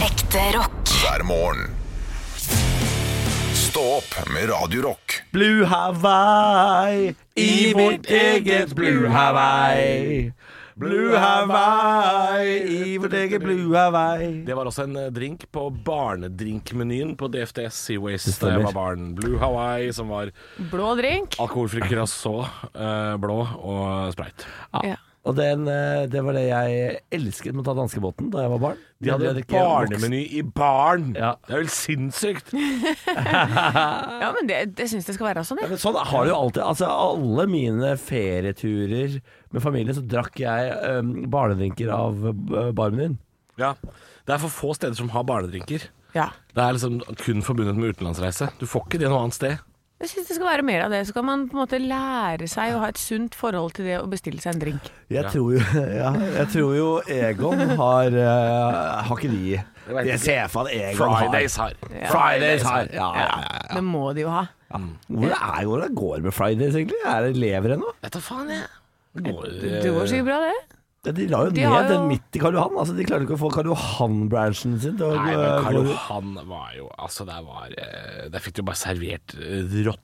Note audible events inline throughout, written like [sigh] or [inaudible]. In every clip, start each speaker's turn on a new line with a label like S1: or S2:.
S1: Ekte rock.
S2: hver morgen. Stå opp med Radio Rock.
S3: Blue Hawaii i vårt eget Blue Hawaii. Blue Hawaii i vårt eget Blue Hawaii.
S4: Det var også en eh, drink på barnedrinkmenyen på DFDS Seaways da
S3: stemmer.
S4: jeg var barn. Blue Hawaii, som var
S5: Blå drink.
S4: alkoholfri croissant, eh, blå og sprite.
S5: Ja.
S3: Og den, eh, det var det jeg elsket med å ta danskebåten da jeg var barn.
S4: De hadde
S3: Jeg drikker voksen-
S4: barnemeny i baren!
S3: Ja.
S4: Det er vel sinnssykt!
S5: ja, men det, det syns det skal være sånn,
S3: Ja,
S5: jeg.
S3: men Sånn har det jo alltid Altså Alle mine ferieturer med familien, så drakk jeg eh, barnedrinker av eh, barmen din.
S4: Ja. Det er for få steder som har barnedrinker.
S5: Ja.
S4: Det er liksom kun forbundet med utenlandsreise. Du får ikke det noe annet sted.
S5: Jeg syns det skal være mer av det. Så kan man på en måte lære seg å ha et sunt forhold til det å bestille seg en drink.
S3: Jeg, tror, jo, [laughs] ja, jeg tror jo Egon har eh, Har ikke de
S4: Jeg vet
S3: Jeg
S4: ikke.
S3: ser for meg at Egon
S4: Fridays
S3: har
S4: her.
S3: Fridays har ja, ja, ja, ja.
S5: Det må de jo ha.
S3: Hvordan er hvordan går det med Fridays egentlig? Er det lever ennå?
S4: Vet da faen, jeg. Det går,
S5: Det går sikkert bra, det.
S3: Ja, de la jo
S5: De har
S3: ned
S5: jo-
S3: den midt i Karl Johan. Altså, de klarte ikke å få Karl Johan-bransjen sin til å
S4: Nei,
S3: gå-
S4: men Karl
S3: gå-
S4: Johan var jo Altså, der var eh, Der fikk du bare servert eh, rotte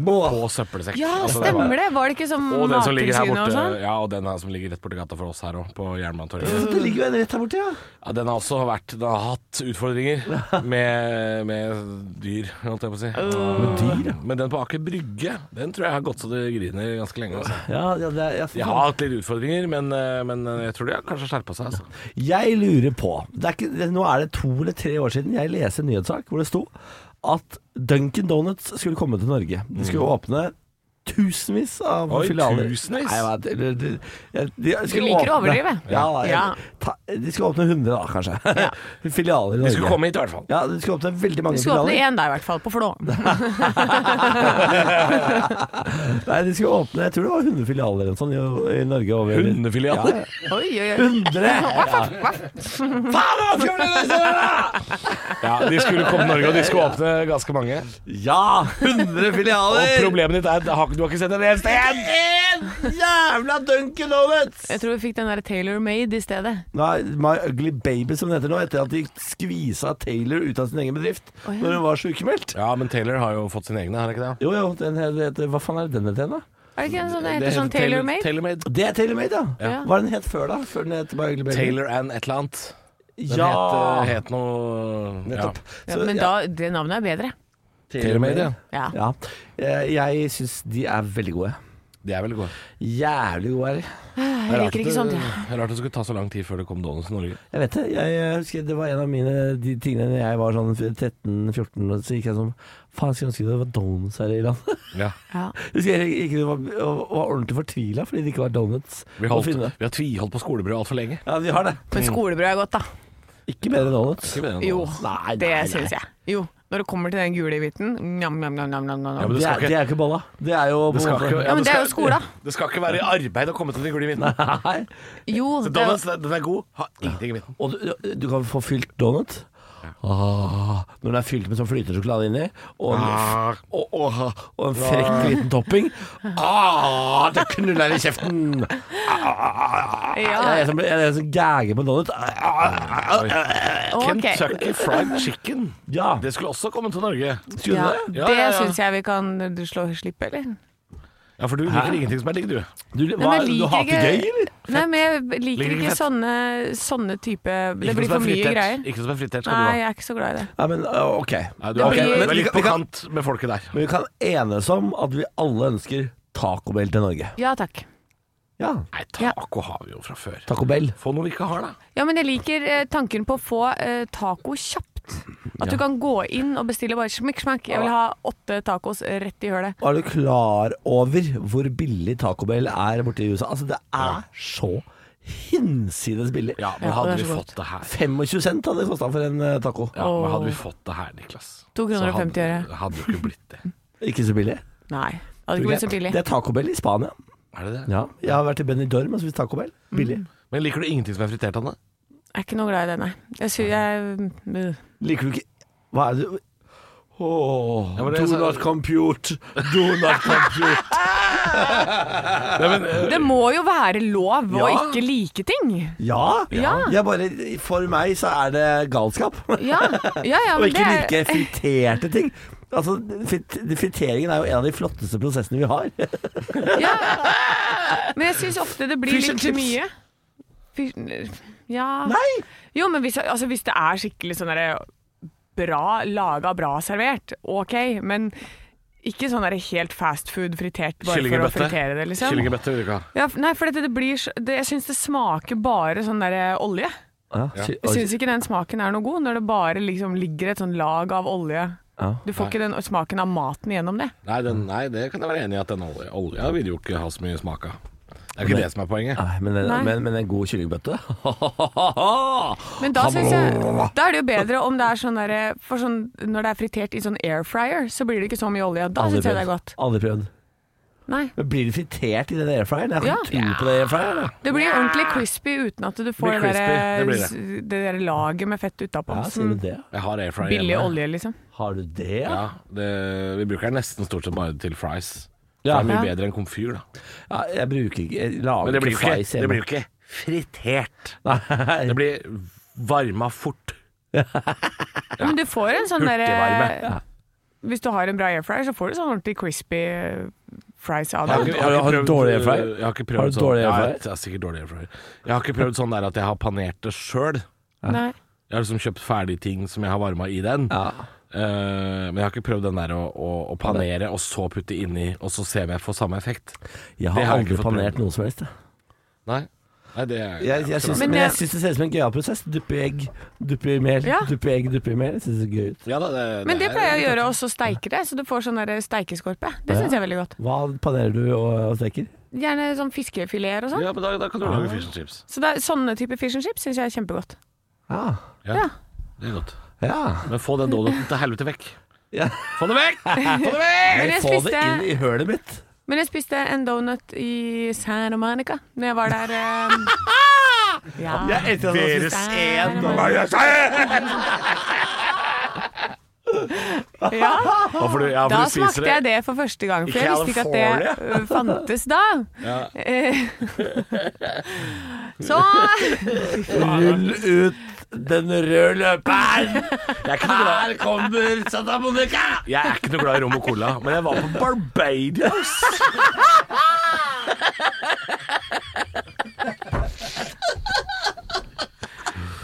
S3: Må-
S4: på søppelsekk.
S5: Ja,
S4: altså, det var-
S5: stemmer det. Var det ikke som
S4: Og den som ligger her
S5: Mattilsynet og
S4: borte.
S5: sånn?
S4: Ja, og den her som ligger rett borti gata for oss her òg, på Jernbanetorget.
S3: Det ligger jo en rett her borte, ja.
S4: Ja, den har også vært Den har hatt utfordringer med, med dyr, holdt jeg på å si.
S3: Med dyr, ja.
S4: Men den på Aker Brygge, den tror jeg har gått så det griner ganske lenge. Altså.
S3: ja, ja, det er, ja, for
S4: De
S3: faen.
S4: har hatt litt utfordringer, men, eh, men jeg tror de har kanskje skjerpa seg. Altså.
S3: Jeg lurer på det er ikke, det, Nå er det to eller tre år siden jeg leste en nyhetssak hvor det sto at Duncan Donuts skulle komme til Norge. De skulle åpne tusenvis av
S4: Mm. Oi,
S3: filialer.
S4: tusenvis?
S3: Nei, jeg vet, eller, de, jeg- de, skulle
S5: liker å
S3: åpne-
S5: overdrive.
S3: Ja, da, jeg-
S5: Ja.
S3: Ta, de skulle åpne 100, da, kanskje. [laughs] filialer i Norge.
S4: De skulle komme hit, i hvert fall.
S3: Ja, de skulle åpne veldig mange
S5: Du skulle åpne
S3: filialer.
S5: én der, i hvert fall. På Flå.
S3: Nei, de skulle åpne, Jeg tror det var 100 filialer eller noe sånt i, i Norge. Over.
S4: Hundefilialer.
S5: Oi, oi, oi.
S3: 100! Ja.
S4: Ja, de skulle komme til Norge, og de skulle åpne ganske mange.
S3: ja,
S4: [laughs]
S3: 100 filialer!
S4: Og problemet ditt er at har ikke- du har ikke sett en eneste en!
S3: En jævla Duncan Donuts!
S5: Jeg tror vi fikk den der Taylor Made i stedet.
S3: Nei, My Ugly Baby som det heter nå, etter at de skvisa Taylor ut av sin egen bedrift
S5: Å, ja.
S3: når hun var sykemeldt.
S4: Ja, men Taylor har jo fått sine egne, har han ikke det?
S3: Jo, jo, den heter, hva faen er det den heter igjen, da?
S5: Er det ikke en sånn det heter sånn Taylor Made?
S4: Taylor Made.
S3: Det er Taylor Made, ja.
S5: Ja.
S3: Hva er den het før, da? Før den het My Ugly Baby?
S4: Taylor and et eller annet. Den
S3: ja.
S4: het, eh, het noe
S3: [laughs] Nettopp.
S5: Ja,
S3: Så,
S5: men
S3: ja,
S5: da, det navnet er bedre.
S4: Taylor Made, ja.
S5: Ja.
S3: Ja. Eh, Jeg syns de er veldig gode.
S4: De er veldig gode.
S3: Jævlig gode er de.
S5: Jeg liker ikke sånt. jeg.
S4: Rart det skulle ta så lang tid før det kom donuts i Norge.
S3: Jeg vet det. Jeg, jeg husker det var en av mine de tingene da jeg var sånn 13-14, og så gikk jeg sånn Faen, skulle ønske det var donuts her i landet.
S4: Ja.
S5: Ja.
S3: Husker jeg gikk og var, og var ordentlig fortvila fordi det ikke var donuts
S4: Vi,
S3: å
S4: holdt,
S3: finne.
S4: vi har tviholdt på skolebrød altfor lenge.
S3: Ja, vi har det.
S5: Men skolebrød er godt, da.
S3: Ikke bedre enn donuts.
S4: Ikke bedre enn
S5: Jo,
S4: donuts.
S3: Nei, nei,
S5: det
S3: nei.
S5: syns jeg. Jo, når det kommer til den gule biten njam, njam, njam, njam,
S4: Ja,
S5: njam, njam.
S4: men
S3: Det
S4: det skal
S3: er,
S4: ikke-
S3: det er ikke bolla. Det er jo
S4: Det skal ikke-
S5: Ja, men
S4: du
S5: det er
S4: skal-
S5: jo skole, da.
S4: Det skal ikke være i arbeid å komme til den gule midten.
S3: [laughs] Nei.
S5: Jo,
S4: Så
S5: det er
S4: Donuts, den den er god. Ha ingenting i midten.
S3: Og du, du kan få fylt donut. Ah, når den er fylt med sånn flytesjokolade inni, og en,
S4: Ah.
S3: og, og, og en frekk liten topping ah, Det knuller i kjeften! Ah,
S5: Ja.
S3: Jeg er som, jeg er som gager på donut. Ah,
S5: ok.
S4: Kentucky fried chicken.
S3: ja,
S4: Det skulle også komme til Norge.
S3: skulle
S5: Ja,
S3: du det?
S4: Ja, ja,
S5: det
S4: ja.
S5: syns jeg vi kan du slå slipp, eller?
S4: Ja, for du liker ingenting som er digg, du.
S3: Du, hva,
S5: jeg
S3: du
S5: liker
S3: hater gøy,
S5: ikke-
S3: eller?
S5: Nei, men jeg liker
S4: Ligger ikke
S5: ikke
S4: fett.
S5: sånne, sånne type
S4: Ikke
S5: Det
S4: noe
S5: blir for
S4: som er
S5: mye
S4: fritert.
S5: greier.
S4: Ikke noe som er fritert skal du
S5: Nei,
S4: ha.
S5: jeg er ikke så glad i det.
S3: Nei, men ah, ok.
S4: Nei, du,
S5: Det
S4: er-
S5: blir-
S4: du er litt på
S3: vi kan-
S4: kant med folket der.
S3: Men vi kan enes om at vi alle ønsker Taco Bell til Norge.
S5: Ja takk.
S3: Ja,
S4: Nei, taco har vi jo fra før.
S3: Taco Bell.
S4: Få noe vi ikke har, da.
S5: Ja, men jeg liker eh, tanken på å få eh, taco kjapt. At du kan gå inn og bestille bare smikk, smakk. Jeg vil ha åtte tacos rett i hølet.
S3: Er du klar over hvor billig Taco Bell er borte i USA? Altså, det er så hinsides billig.
S4: Ja, men
S5: Ja,
S4: hadde
S5: det er
S4: vi
S5: så
S4: fått det her
S3: 25 cent hadde det kosta for en eh, taco.
S4: Ja, men hadde vi fått det her, Niklas
S5: To kroner
S4: så
S5: og femti
S4: hadde-
S5: øre.
S4: Hadde jo ikke blitt [laughs] det
S3: Ikke så billig.
S5: Nei, det hadde ikke blitt så billig.
S3: Det er Taco Bell i Spania.
S4: Er det det?
S3: Ja, jeg har vært i Benidorm og spist Taco Bell.
S5: Mm.
S3: Billig.
S4: Men liker du ingenting som er fritert, Anne?
S5: Jeg er ikke noe glad i det, nei. Jeg sy jeg, øh.
S3: Liker du ikke Hva er det Åh,
S4: Ja, men det
S3: do
S4: er så-
S3: not compute. Do not compute.
S5: Det må jo være lov å
S3: Ja.
S5: ikke like ting.
S3: Ja.
S5: Ja.
S3: Jeg bare, for meg så er det galskap.
S5: Ja, ja, ja
S3: Og
S5: men
S3: ikke
S5: det
S3: like friterte ting. Altså, frit, Friteringen er jo en av de flotteste prosessene vi [laughs] har.
S5: er
S3: [laughs]
S5: ja. Men jeg syns ofte det blir
S4: Fish and
S5: litt
S4: chips.
S5: for mye. Fish- Ja
S3: Nei!
S5: Jo, men hvis, altså, hvis det er skikkelig sånn derre bra laga, bra servert, OK, men ikke sånn derre helt fast food fritert bare for å
S4: Kyllingebøtte.
S5: fritere det, liksom.
S4: Kyllingebøtte vil du ikke ha.
S5: Ja, f- nei, for dette, det blir så- det, Jeg syns det smaker bare sånn derre olje.
S3: Ja, sy-
S5: Jeg syns ikke den smaken er noe god, når det bare liksom ligger et sånn lag av olje.
S3: Ja.
S5: Du får ikke den smaken av maten gjennom det.
S4: Nei, den, nei, det kan jeg være enig i at den olja, olja vil jo ikke ha så mye smak av. Det er ikke det som er poenget.
S3: Nei, men, en-
S5: Nei.
S3: Men, men en god kyllingbøtte [laughs]
S5: Men da synes jeg Da er det jo bedre om det er sånn derre For sånn når det er fritert i sånn air fryer, så blir det ikke så mye olje. Da syns jeg det er godt.
S3: Aldri prøvd.
S5: Nei.
S3: Men blir det fritert i den airfryeren? Jeg har ikke
S5: Ja.
S3: tro på det airfryeren. jeg.
S5: Det blir jo ordentlig crispy uten at du får
S4: Blir
S5: det,
S4: crispy, det
S5: der,
S4: blir det.
S5: s- det. der laget med fett utapå.
S3: Ja, sier
S5: som
S3: du det?
S4: Jeg har air fryer
S5: billig olje, liksom.
S3: Har du det?
S4: Ja, det, vi bruker den nesten stort sett bare til fries.
S3: Ja.
S4: Det er mye
S5: Ja.
S4: bedre enn komfyr, da.
S3: Ja, jeg bruker ikke jeg lager
S4: Men det blir jo ikke,
S3: fries
S4: det
S3: hjemme.
S4: blir jo ikke fritert.
S3: [laughs] Nei.
S4: Det blir varma fort.
S5: Men du får en sånn
S4: Hurtigvarme.
S5: derre Hvis du har en bra air fryer, så får du sånn ordentlig crispy fries av
S4: Jeg
S5: det.
S4: ikke- jeg
S3: Har du- har du
S4: ikke prøvd-
S3: dårlig air fryer?
S4: Jeg har ikke
S3: Har
S4: prøvd
S3: du
S4: sånn
S3: dårlig air
S4: Ja,
S3: fryer?
S4: Jeg, jeg har sikkert dårlig air fryer. Jeg har ikke prøvd sånn der at jeg har panert det sjøl.
S5: Nei.
S4: Jeg har liksom kjøpt ferdige ting som jeg har varma i den.
S3: Ja.
S4: Eh, men jeg har ikke prøvd den der å, å, å panere og så putte inni, og så se om jeg får samme effekt.
S3: Jeg har
S4: Det har jeg
S3: aldri
S4: ikke fått
S3: panert
S4: prøvd.
S3: noe som helst. jeg.
S4: Nei, Nei det er
S3: Jeg, jeg syns,
S5: Men
S3: men
S5: jeg-
S3: jeg syns det ser ut som en gøyal prosess. Duppe i egg, duppe i mel,
S5: Ja.
S3: duppe i egg, duppe i mel. Jeg syns det ser gøy ut.
S4: Ja da, det,
S5: Men det
S4: er-
S5: pleier jeg å gjøre også steike det, så du får sånn derre steikeskorpe. Det syns jeg er veldig godt.
S3: Hva panerer du og, og steker?
S5: Gjerne sånn fiskefileter og sånn.
S4: Ja, men da, da kan du lage fish and chips.
S5: Så det er, sånne typer fish and chips syns jeg er kjempegodt.
S3: Ja.
S5: Ja.
S4: Det er godt.
S3: Ah, ja.
S4: Men få den donuten til helvete vekk.
S3: ja.
S4: Få den vekk! Få den vekk!
S5: Men jeg
S3: Få det inn
S5: spiste,
S3: i hølet mitt.
S5: men jeg spiste en donut i Santa Monica når jeg var der. eh, ja.
S3: Jeg elsker at du har spist én donut. [laughs]
S5: ja.
S4: Ja, for du, ja, for
S5: Da
S4: du spiser
S5: smakte jeg det for første gang, for jeg visste ikke at det ø, [laughs] fantes da. Eh, [laughs]
S3: [laughs]
S5: Så
S3: Rull ut den røde løperen!
S4: Jeg er, ikke noe glad,
S3: Her kommer Santa Monica!
S4: jeg er ikke noe glad i rom og cola, men jeg var på Barbados.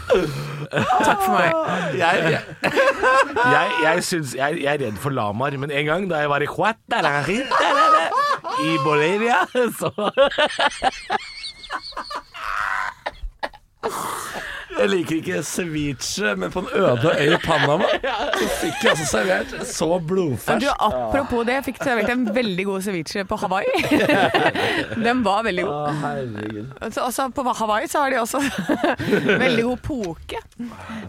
S5: takk for meg.
S4: Jeg, jeg, jeg, jeg, syns, jeg, jeg er redd for lamaer, men en gang da jeg var i Huatararita i Bolivia, så
S3: Jeg liker ikke ceviche, men på en øde øy i Panama så fikk jeg altså servert så
S5: Du,
S3: blodfersk
S5: apropos det, jeg fikk servert en veldig god ceviche på Hawaii. [laughs] Den var veldig god. Så også på Hawaii så har de også [laughs] veldig god poke.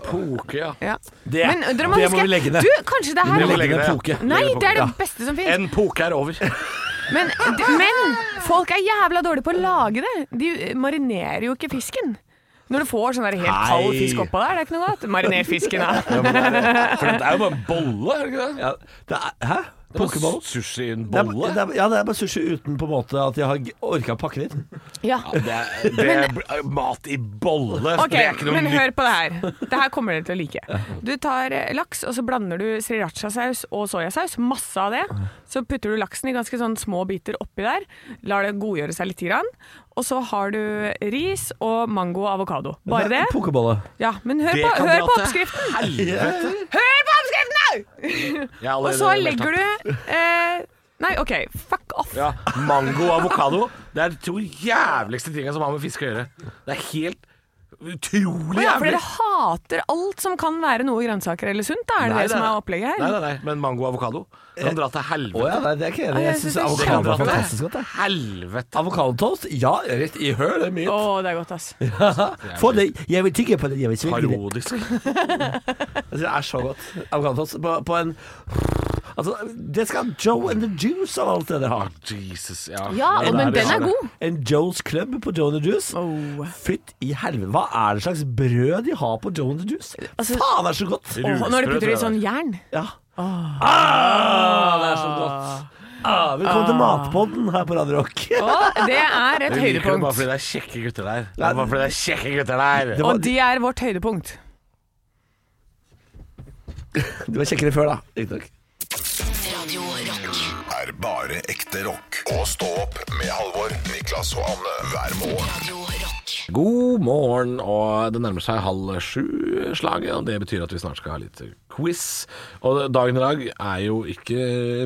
S4: Poke, ja.
S5: Ja.
S3: Det-
S5: dere
S3: det må vi legge ned.
S5: Du, kanskje det her
S4: Det må
S3: Legg
S4: legge
S3: ned
S4: det, ja.
S3: poke.
S5: Nei,
S4: legge
S5: det er det
S3: poke.
S5: beste som finnes.
S4: En poke er over.
S5: Men, men folk er jævla dårlige på å lage det. De marinerer jo ikke fisken. Når du får sånn der helt kald
S3: Nei.
S5: fisk oppå der, det er ikke noe godt. Mariner fisken, da.
S4: For det er jo bare en bolle, er det ikke det?
S3: Ja, det er, hæ? Pokeball?
S4: Sushi i en
S3: Det er,
S4: bolle?
S3: det er, ja, det er bare sushi uten på en måte at jeg har g- orka å pakke det inn.
S5: Ja.
S4: Det er, det
S3: eh,
S4: er mat i bolle.
S5: Ok,
S4: det er ikke noe
S5: men
S4: nytt.
S5: hør på det her. Det her kommer dere til å like. Du tar eh, laks, og så blander du srirachasaus og soyasaus. Masse av det. Så putter du laksen i ganske sånn små biter oppi der. Lar det godgjøre seg litt. Grann. Og så har du ris og mango og avokado. Bare det.
S3: Pokebolle.
S5: Ja, men hør
S4: Det
S5: på,
S4: kan dra
S5: hør
S4: til
S5: på oppskriften!
S4: Helvete.
S5: Hør på oppskriften, da!
S4: Jeg er
S5: Og
S4: allerede
S5: så
S4: veldig
S5: legger du eh, Nei, OK, fuck off.
S4: Ja, mango og avokado Det er de to jævligste tingene som har med fisk å gjøre Det er helt
S5: Å
S4: utrolig
S5: ja, for
S4: jævlig
S5: dere hater alt som kan være noe grønnsaker eller sunt? Da er det
S4: Nei,
S5: det som er opplegget her?
S4: Nei, nei, nei, men mango og avokado Kan dra til
S3: Å
S4: helvete
S3: ja, nei, det er ikke enig.
S5: Ja,
S3: Jeg
S5: jeg
S3: syns
S5: synes det er
S3: avokado er
S4: kjempegodt.
S3: fantastisk godt. jeg.
S4: Helvete
S3: Avokadotoast? Ja, rett i høl. Det er mye.
S5: Å, det er godt, ass.
S3: Få det. Jeg vil tygge på det. Jeg vil svelge det.
S4: Parodisk
S3: Altså, det er så godt. Avokadotoast på, på en Altså, det skal Joe and the Juice av alt det dere har.
S4: Jesus, ja
S5: Ja,
S4: Nei,
S5: men
S4: det
S5: den er god.
S3: En Joe's Club på Joe and the Juice.
S5: Oh.
S3: Fytt i helvete. Hva er det slags brød de har på Joe and the Juice?
S5: Altså,
S3: Faen, det er så godt!
S5: Og når du putter i sånn jern.
S3: Ja. Ah, det er så godt. Ah, velkommen til Matpodden her på Radio Rock.
S5: Og det er
S4: Jeg liker det
S5: et
S4: bare
S5: høydepunkt.
S4: fordi det er kjekke gutter der. Det er bare fordi det er kjekke gutter der.
S3: [laughs] Det var,
S5: Og de er vårt høydepunkt.
S3: du var kjekkere før, da. Riktignok.
S1: Radio Rock.
S2: Er bare ekte rock. Og stå opp med Halvor, Niklas og Anne hver morgen.
S1: Radio Rock.
S4: God morgen, og det nærmer seg halv sju-slaget, og det betyr at vi snart skal ha litt quiz. Og dagen i dag er jo ikke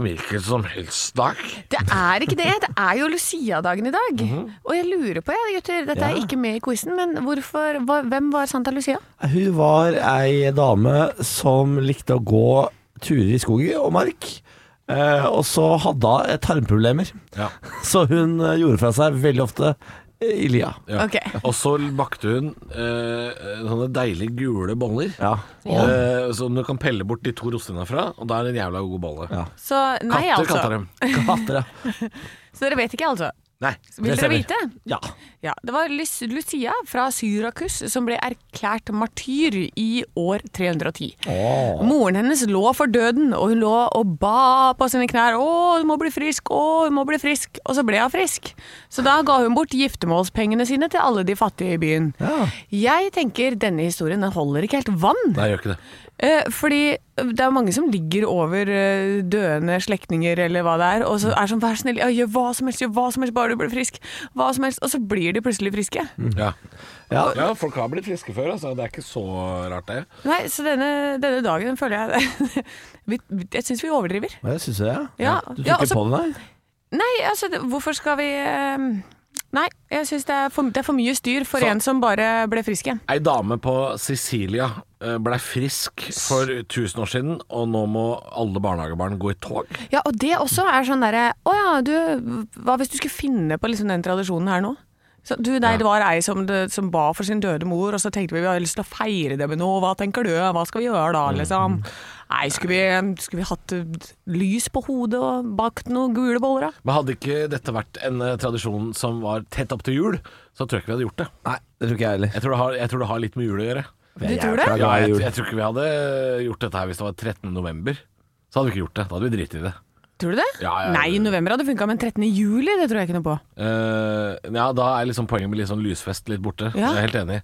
S4: hvilken som helst dag.
S5: Det er ikke det. Det er jo Lucia-dagen i dag.
S4: Mhm.
S5: Og jeg lurer på, jeg, gutter, dette er
S3: Ja.
S5: ikke med i quizen, men hvorfor, hva, hvem var Santa Lucia?
S3: Hun var ei dame som likte å gå turer i skogen og mark. eh, Og så hadde hun tarmproblemer, [laughs]
S4: Ja.
S3: så hun eh, gjorde fra seg veldig ofte eh, i lia.
S4: Ja.
S5: Ok.
S4: Og så bakte hun eh, sånne deilige gule boller.
S3: Ja.
S4: Eh, som du kan pelle bort de to rostene fra, og da er det en jævla god bolle.
S3: Ja.
S5: Så nei,
S4: Katter
S5: altså.
S4: kaller dem.
S3: Katter, ja.
S5: Så dere vet ikke, altså.
S4: Nei.
S3: Det
S5: Vil dere
S3: stemmer.
S5: vite?
S3: ja.
S5: Ja, Det var Lys- Lucia fra Syrakus som ble erklært martyr i år 310. Moren hennes lå for døden, og hun lå og ba på sine knær. 'Å, du må bli frisk! Å, du må bli frisk!' Og så ble hun frisk. Så da ga hun bort giftermålspengene sine til alle de fattige i byen.
S3: Ja.
S5: Jeg tenker denne historien den holder ikke helt vann.
S4: Nei, jeg gjør ikke det.
S5: Eh, fordi det er jo mange som ligger over eh, døende slektninger eller hva det er, og så er sånn 'vær så snill, ja, gjør hva som helst, gjør hva som helst, bare du blir frisk', hva som helst, og så blir de plutselig friske.
S4: Ja.
S3: Mm. Ja.
S4: ja, folk har blitt friske før, altså. Det er ikke så rart, det.
S5: Nei, så denne, denne dagen den føler jeg [laughs] vi, vi- Jeg syns vi overdriver.
S3: Jeg syns det, ja.
S5: Ja.
S3: Du
S5: Ja,
S3: fikk
S5: altså-
S3: ikke på det, nei?
S5: Nei, altså, det- hvorfor skal vi eh, Nei, jeg syns det, er for- det er for mye styr for
S4: Så-
S5: en som bare ble frisk igjen.
S4: Ei dame på Sicilia eh, ble frisk for 1000 år siden, og nå må alle barnehagebarn gå i tog.
S5: Ja, og det også er sånn derre Å ja, du Hva hvis du skulle finne på liksom den tradisjonen her nå? Så, du, nei, det var ei som, det- som ba for sin døde mor, og så tenkte vi vi har lyst til å feire det med noe. Hva tenker du? Hva skal vi
S4: Mm.
S5: gjøre da, liksom? Nei, skulle vi, skulle vi hatt eh, lys på hodet og bakt noen gule boller, da?
S4: Men hadde ikke dette vært en eh, tradisjon som var tett opp til jul, så tror jeg ikke vi hadde gjort det.
S3: Nei, det tror ikke jeg heller.
S4: Jeg tror det har, jeg tror det har litt med jul å gjøre.
S5: Du tror det?
S4: Ja, jeg, jeg tror ikke vi hadde eh, gjort dette her hvis det var 13. november. Så hadde vi ikke gjort det. Da hadde vi driti i det.
S5: Tror du det?
S4: Ja, ja, ja.
S5: Nei, i november hadde funka, men 13. juli, det tror jeg ikke
S4: [laughs]
S5: noe på.
S4: Eh, ja, da er liksom poenget med litt sånn lysfest litt borte. Jeg
S5: Ja.
S4: er helt enig.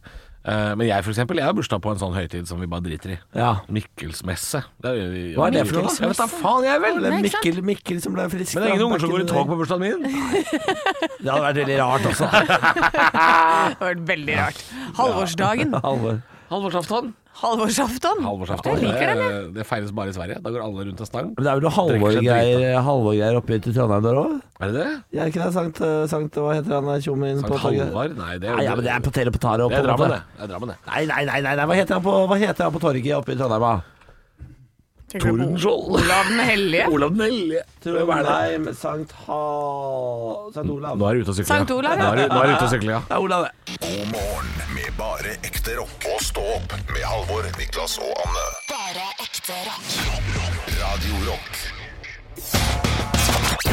S4: Eh, men jeg for eksempel, jeg har bursdag på en sånn høytid som vi bare driter i.
S3: Ja.
S4: Mikkelsmesse. Det er, vi-
S3: Hva er det for noe, da?
S4: Jeg vet da faen, jeg vel!
S3: Det er
S5: Nei, ikke sant?
S3: Mikkel, Mikkel som ble frisk.
S4: Men det er ingen
S3: da,
S4: unger som går i
S3: back in
S4: tog
S3: the
S4: på bursdagen min.
S3: day. Det hadde vært veldig rart også.
S5: Det hadde vært veldig rart. Halvorsdagen.
S3: [laughs]
S4: [laughs]
S3: Halvor.
S4: Halvorsaften.
S5: Halvorsafton.
S4: Halvorsaften.
S5: Jeg liker den, jeg.
S4: det, det feires bare i Sverige. Da går alle rundt en stang.
S3: Men det er vel noe Halvor-greier Halvor oppe til Trondheim der òg?
S4: Er det det?
S3: Er det ikke det Sankt, eh, Sankt Hva heter han der tjommien på
S4: Sankt
S3: toget?
S4: Halvard? Nei, det er,
S3: Nei, ja, men det er på Telepotaret
S4: det
S3: oppe.
S4: er Drammen, det. det, er Drammen, det.
S3: Nei, nei, nei, nei, nei. Hva, heter han på, hva heter han på torget oppe i Trondheim? da?
S5: Tenker du på Olav den hellige.
S4: Olav den hellige.
S3: Tror jeg Nei, Sankt Ha... Sankt Olav.
S4: Nå er du ute og sykler.
S5: Sankt Olav, ja.
S4: Nå er du- nå er du ute og sykler, ja.
S3: Det er Olav, det.
S2: God morgen med bare ekte rock. Og stå opp med Halvor, Niklas og Anne.
S1: Bare ekte rock.
S2: Rock, rock. Radio Rock.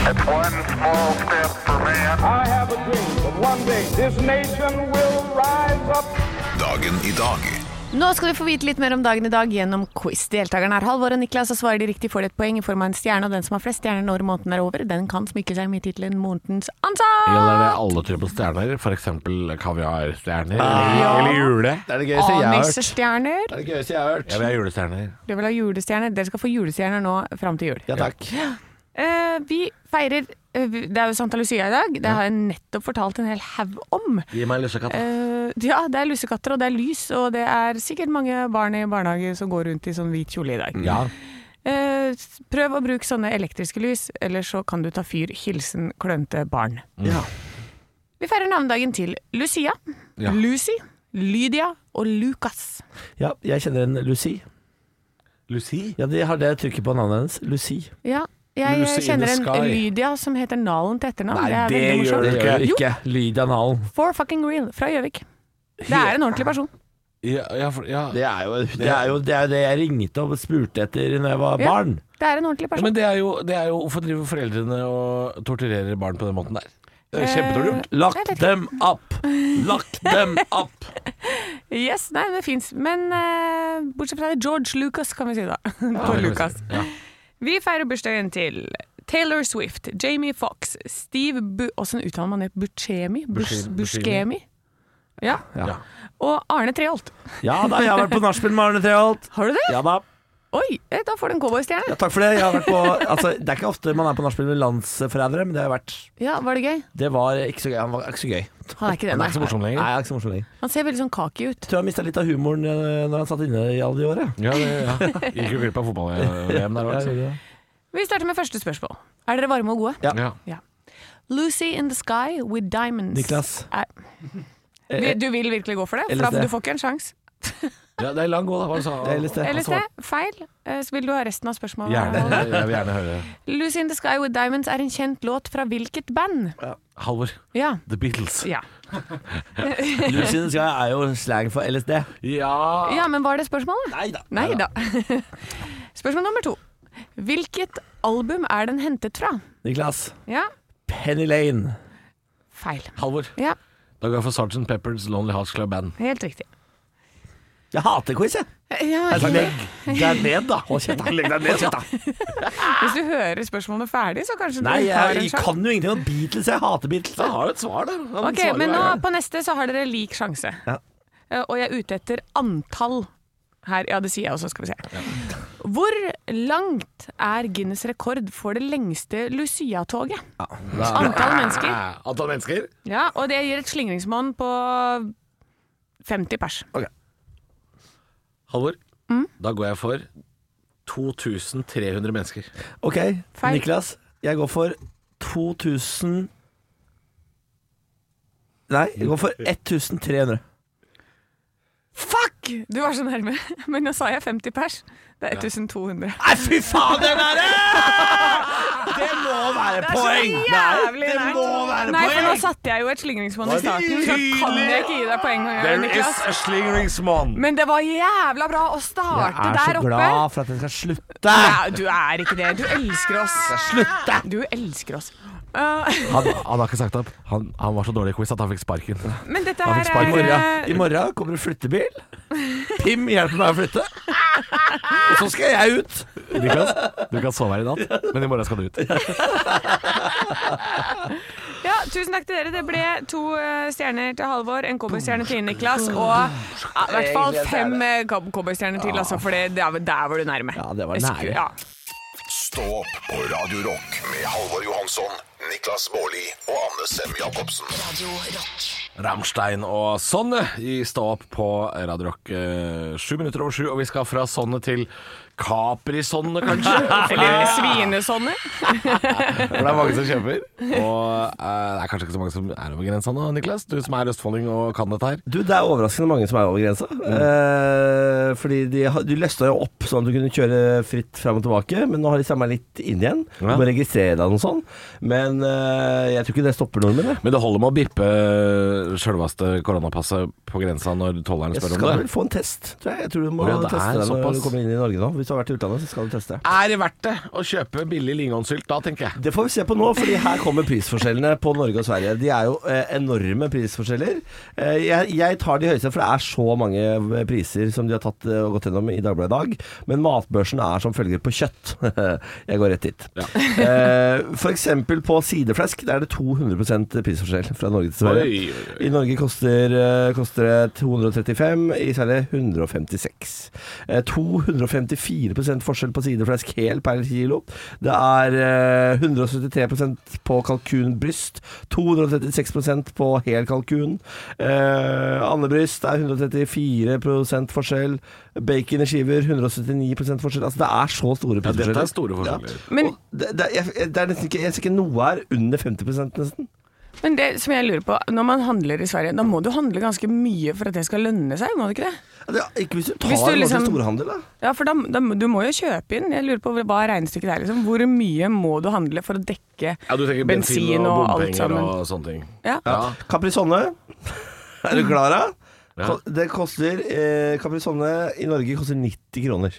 S6: It's one small step for man. I have a dream that one day this nation will rise up.
S2: Dagen i dag.
S5: Nå skal du få vite litt mer om dagen i dag gjennom quiz. Deltakerne er Halvor og Niklas, og svarer de riktig får de et poeng i form av en stjerne. Og den som har flest stjerner når måneden er over, den kan smykke seg med tittelen 'Månedens
S4: Gjelder det
S5: ansatt'.
S4: alle typer stjerner, f.eks. kaviarstjerner eller jule?
S3: Det er det gøyeste jeg har hørt.
S5: Anisstjerner.
S3: Det er det gøyeste jeg har hørt.
S4: Jeg vil ha julestjerner.
S5: Du vil ha julestjerner. Dere skal få julestjerner nå fram til jul.
S3: Ja takk.
S5: Eh, vi feirer eh, vi- Det er jo Santa Lucia i dag. Det har jeg nettopp fortalt en hel haug om.
S4: Gi meg en lussekatt.
S5: Eh, ja, det er lussekatter, og det er lys, og det er sikkert mange barn i barnehage som går rundt i sånn hvit kjole i dag.
S4: Ja.
S5: Eh, s- prøv å bruke sånne elektriske lys, eller så kan du ta fyr. Hilsen klønete barn.
S4: Mm.
S3: Ja.
S5: Vi feirer navnedagen til Lucia,
S4: Ja.
S5: Lucy, Lydia og Lucas.
S3: ja, jeg kjenner en Lucy.
S4: Lucy?
S3: Ja, de har det trykket på navnet hennes. Lucy.
S5: Ja, jeg
S4: Lucy in
S5: kjenner
S4: the
S5: en
S4: sky.
S5: Lydia som heter Nalen til etternavn.
S4: Nei,
S5: det er
S4: det
S5: veldig
S4: gjør
S5: morsomt.
S4: du ikke.
S5: Jo.
S3: Lydia Nalen.
S5: For fucking real, fra Gjøvik. Det er en ordentlig person.
S4: Ja, ja, for, ja.
S3: Det er jo det, er jo, det, er jo det jeg ringte og spurte etter når jeg var
S5: Ja.
S3: barn.
S5: Det er en ordentlig
S4: Ja,
S5: person.
S4: men det er, jo, det er jo Hvorfor driver foreldrene og torturerer barn på den måten der? Det er Kjempedårlig gjort.
S3: Lock
S5: Jeg vet ikke.
S3: them up! Lock them up!
S5: Yes, nei, det fins. Men eh, [laughs] bortsett fra det, George Lucas kan vi si da. På Lucas. Vi feirer bursdagen til Taylor Swift, Jamie Fox, Steve Bu... Åssen uttaler man det? Buscemi? Bus
S4: Buscemi.
S5: Buscemi? Ja.
S3: Ja.
S5: Og Arne Treholt.
S3: Ja da, jeg har vært på nachspiel med Arne Treholt.
S5: Har du det?
S3: Ja da.
S5: Oi, eh, da får du en cowboystjerne.
S3: Ja, takk for det. Jeg har vært på, altså, det er ikke ofte man er på nachspiel med landsforrædere, men det har jeg vært.
S5: Ja, var det gøy?
S3: Det var ikke så gøy. Han var ikke så gøy.
S5: Han er ikke det,
S4: Det er ikke så
S5: nei.
S4: morsomt
S3: Nei,
S4: lenger.
S3: han er ikke så morsom lenger.
S5: Han ser veldig sånn kaki ut.
S3: Tror jeg mista litt av humoren eh, når han satt inne i alle de åra.
S4: Ja, det, ja. Gikk jo glipp av fotball-VM der òg.
S5: Vi starter med første spørsmål. Er dere varme og gode?
S3: Ja.
S4: Ja.
S5: Lucy in the sky with diamonds.
S3: Niklas.
S5: Er,
S3: Eh,
S5: Vi- du vil virkelig gå for det? For
S3: LSD.
S5: da du får ikke en sjanse.
S4: ja, det er lang gå, da. Hva sa
S3: Det er litt det.
S5: Eller se, feil. Eh, Så vil du ha resten av spørsmålet.
S4: Gjerne. Jeg vil gjerne høre
S5: Lucy in the sky with diamonds er en kjent låt fra hvilket band?
S4: Halvor.
S5: Ja.
S4: The Beatles.
S5: Ja,
S3: Lucien Sky er jo slang for LSD.
S4: Ja,
S5: ja men var det spørsmålet?
S3: Nei da.
S5: Nei da. [laughs] Spørsmål nummer to. Hvilket album er den hentet fra?
S3: Niklas.
S5: Ja,
S3: Penny Lane.
S5: feil.
S4: Halvor.
S5: Ja,
S4: Da går jeg for Sergeant Peppers Lonely Hearts Club Band.
S5: helt riktig.
S3: Jeg hater quiz, jeg.
S5: Ja,
S3: Legg deg ned, da. Hold kjeft, da. Legg deg ned, kjeft, da.
S5: hvis du hører spørsmålene ferdig, så kanskje
S3: Nei,
S5: du har
S3: jeg,
S5: en
S3: jeg
S5: sjanse.
S3: kan jo ingenting om Beatles. Jeg hater Beatles.
S4: Da har du et svar der. Han
S5: Ok,
S4: svarer jo
S5: men nå
S4: hver gang.
S5: på neste så har dere lik sjanse.
S3: Ja.
S5: Eh, Og jeg er ute etter antall her. Ja, det sier jeg også, skal vi se. Hvor langt er Guinness rekord for det lengste Lucia-toget? Antall mennesker.
S4: Eh, Antall mennesker?
S5: Ja, og det gir et slingringsmonn på 50 pers.
S4: Halvor.
S5: Mm?
S4: Da går jeg for 2300 mennesker.
S3: Ok,
S5: Feil.
S3: Niklas. Jeg går for 2000 Nei, jeg går for 1300.
S5: Fuck! Du var så nærme, [laughs] men nå sa jeg 50 pers. Det er 1200.
S3: Nei, fy faen, det der! Det må være
S5: Det er så
S3: poeng!
S5: jævlig
S3: Nei, det
S5: nært.
S3: må være
S5: Nei, for nå
S3: poeng!
S5: satte jeg jo et slingringsmonn i starten, så kan
S4: Tydelig.
S5: jeg ikke gi deg poeng. Niklas.
S4: a slingringsmonn.
S5: Men det var jævla bra å starte
S3: Jeg er
S5: der
S3: så
S5: oppe.
S3: glad for at den skal slutte.
S5: Ja, du er ikke det. Du elsker oss.
S3: Slutte!
S5: Du elsker oss. Uh,
S4: Han, han har ikke sagt opp. Han, han var så dårlig i quiz at han fikk sparken.
S5: men dette
S4: fikk
S5: her
S4: spark
S3: I
S5: er
S3: morgen,
S5: eh,
S3: I morgen kommer det flyttebil. Pim hjelper meg å flytte. Og så skal jeg ut.
S4: Niklas, du kan sove her i natt, men i morgen skal du ut.
S5: Ja, tusen takk til dere. Det ble to eh, stjerner til Halvor, en cowboystjerne til Niklas og ja, i hvert fall fem eh, cow- cowboystjerner til, altså, for det- der, der var du nærme.
S3: Ja, det var
S5: Jeg
S3: nære.
S5: skulle- Ja.
S2: Stå opp på Radio Rock med Halvor Johansson, Niklas Baarli og Anne Sem Jacobsen.
S1: Radio Rock.
S4: Rammstein og Sonne i Stå opp på Radio Rock eh, sju minutter over sju. Og vi skal fra Sonne til Capri-Sonne,
S5: [laughs]
S4: kanskje.
S5: Eller svinesonne.
S4: For det er mange som kjøper. Og eh, det er kanskje ikke så mange som er over grensa nå, Niklas. Du som er østfolding og kan dette her.
S3: Du, Det er overraskende mange som er over grensa.
S4: Mm.
S3: Eh, fordi de, har- de løsna jo opp sånn at du kunne kjøre fritt fram og tilbake, men nå har de samla litt inn igjen. Du
S4: Ja.
S3: må registrere deg og noe sånn. Men eh, jeg tror ikke det stopper nordmenn. jeg.
S4: Men det holder med å bippe sjølveste koronapasset på grensa når tollerne
S3: Jeg
S4: spør
S3: skal
S4: om
S3: vel
S4: det.
S3: få en test, tror jeg. Jeg tror du må
S4: Å ja, det
S3: teste
S4: er
S3: deg når
S4: såpass.
S3: du kommer inn i Norge nå. Hvis du har vært i utlandet, så skal du teste.
S4: Er det verdt det å kjøpe billig lingonsylt da, tenker jeg.
S3: Det får vi se på nå, fordi her kommer prisforskjellene på Norge og Sverige. De er jo eh, enorme prisforskjeller. Eh, jeg, jeg tar de høyeste, for det er så mange eh, priser som de har tatt eh, og gått gjennom i Dagbladet i dag. Men matbørsen er som følger på kjøtt. [laughs] jeg går rett dit. eh, for eksempel på sideflesk, der er det 200 prisforskjell fra Norge til Sverige.
S4: Oi, oi, oi.
S3: I Norge koster, eh, koster det 235, i Sverige 156. Eh, 254 forskjell på sideflesk hel per kilo. Det er eh, 173 på kalkunbryst, 236 på hel kalkun. Eh, Andebryst er 134 forskjell. Bacon i skiver 179 forskjell. Altså det er så store
S4: Ja,
S3: prisforskjeller.
S4: dette er store forskjeller.
S5: Men,
S3: Og det, det, jeg, det er nesten ikke, jeg ser ikke noe er under 50 nesten.
S5: men det som jeg lurer på, når man handler i Sverige, da må du handle ganske mye for at det skal lønne seg, må du ikke det?
S3: Altså, Ja, det er- Ikke hvis du tar
S5: Hvis du
S3: noe
S5: liksom-
S3: til storhandel, da.
S5: Ja, for da, da, du må jo kjøpe inn. Jeg lurer på hva er regnestykket der, liksom. Hvor mye må du handle for å dekke
S4: Ja, du tenker bensin, og
S5: bensin og
S4: bompenger
S5: alt sammen?
S4: og sånne ting.
S5: Ja.
S4: Ja.
S3: Caprisonne. [laughs] Er du klar, da?
S4: Ja.
S3: Ko- Det koster eh, Caprisonne i Norge koster 90 kroner.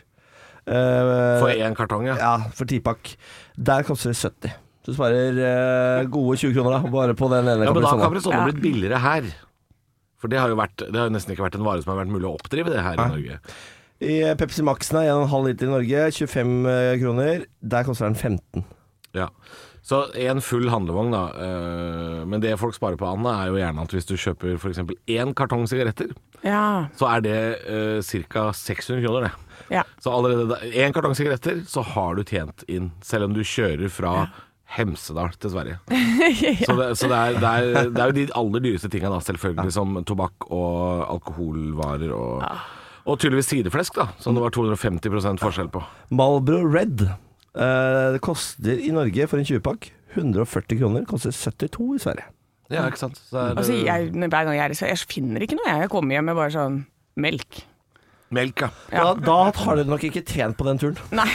S3: Eh,
S4: For én kartong, ja.
S3: Ja, for tipakk. Der koster det 70. Du sparer eh, gode 20 kroner da, bare på den ene
S4: Ja, men da har
S3: Caprisonne.
S4: Caprisonne
S5: Ja.
S4: blitt billigere her. For det har jo vært, det har jo nesten ikke vært en vare som har vært mulig å oppdrive det her i Norge.
S3: eh, I Pepsi Max-en er 1,5 liter i Norge, 25 kroner. Der koster den 15.
S4: Ja. Så en full handlevogn, da. eh, Men det folk sparer på, Anne, er jo gjerne at hvis du kjøper f.eks. én kartong sigaretter,
S5: Ja.
S4: så er det eh, ca. 600 kroner, det.
S5: ja.
S4: Så allerede da- én kartong sigaretter, så har du tjent inn. Selv om du kjører fra Hemsedal til
S5: [laughs]
S4: Sverige. Så, det, så det, er, det, er, det er jo de aller dyreste tinga, da, selvfølgelig, som tobakk og alkoholvarer og Og tydeligvis sideflesk, da, som det var 250 forskjell på.
S3: Malbro Red eh, det koster i Norge for en 20-pakk 140 kroner. Koster 72 i Sverige.
S4: Ja, ikke sant? Så er,
S5: Altså, jeg, når- hver gang jeg er i Sverige, jeg finner ikke noe. jeg. Jeg kommer hjem med bare sånn melk.
S4: Melk, ja.
S5: Ja.
S3: Da, da har dere nok ikke tjent på den turen.
S5: Nei.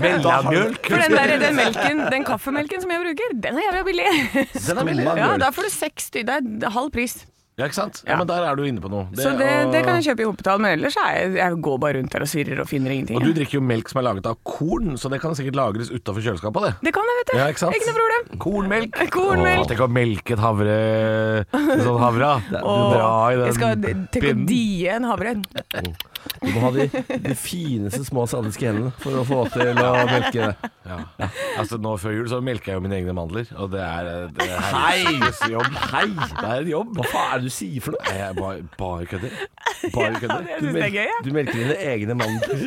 S4: Melabjølk.
S5: For den, der, den, melken, den kaffemelken som jeg bruker, den er jævla billig.
S4: Den er billig.
S5: Ja, da får du seks stykker. Det er halv pris.
S4: Ja, ikke sant? Ja, men der er du inne på noe.
S5: Så det, det kan jeg kjøpe i Hopetall, men ellers er jeg, jeg går bare rundt der og svirrer og finner ingenting.
S4: og, og du drikker jo melk som er laget av korn, så det kan sikkert lagres utafor kjøleskapet, det.
S5: Det kan jeg, vet du.
S4: Ja, ikke sant?
S5: noe problem.
S4: Kornmelk.
S5: [laughs] Kornmelk.
S4: Åh, tenk å melke et havre sånn havre. da.
S5: Åh,
S4: Dra i den
S5: jeg skal tenke å die en havre.
S3: Du må ha de, de fineste små sadiske hendene for å få til å melke det.
S4: Ja. Altså, nå før jul så melker jeg jo mine egne mandler, og det er, det er
S3: Hei!
S4: jobb.
S3: Hei!
S4: Det er en jobb.
S3: Hva faen er det du sier for noe?
S4: Nei, Jeg bare, bare kødder. Bare kødder.
S5: [laughs] Jeg
S3: Du,
S5: syns det er gøy, jeg.
S3: du melker dine egne
S5: [laughs]
S3: mandler.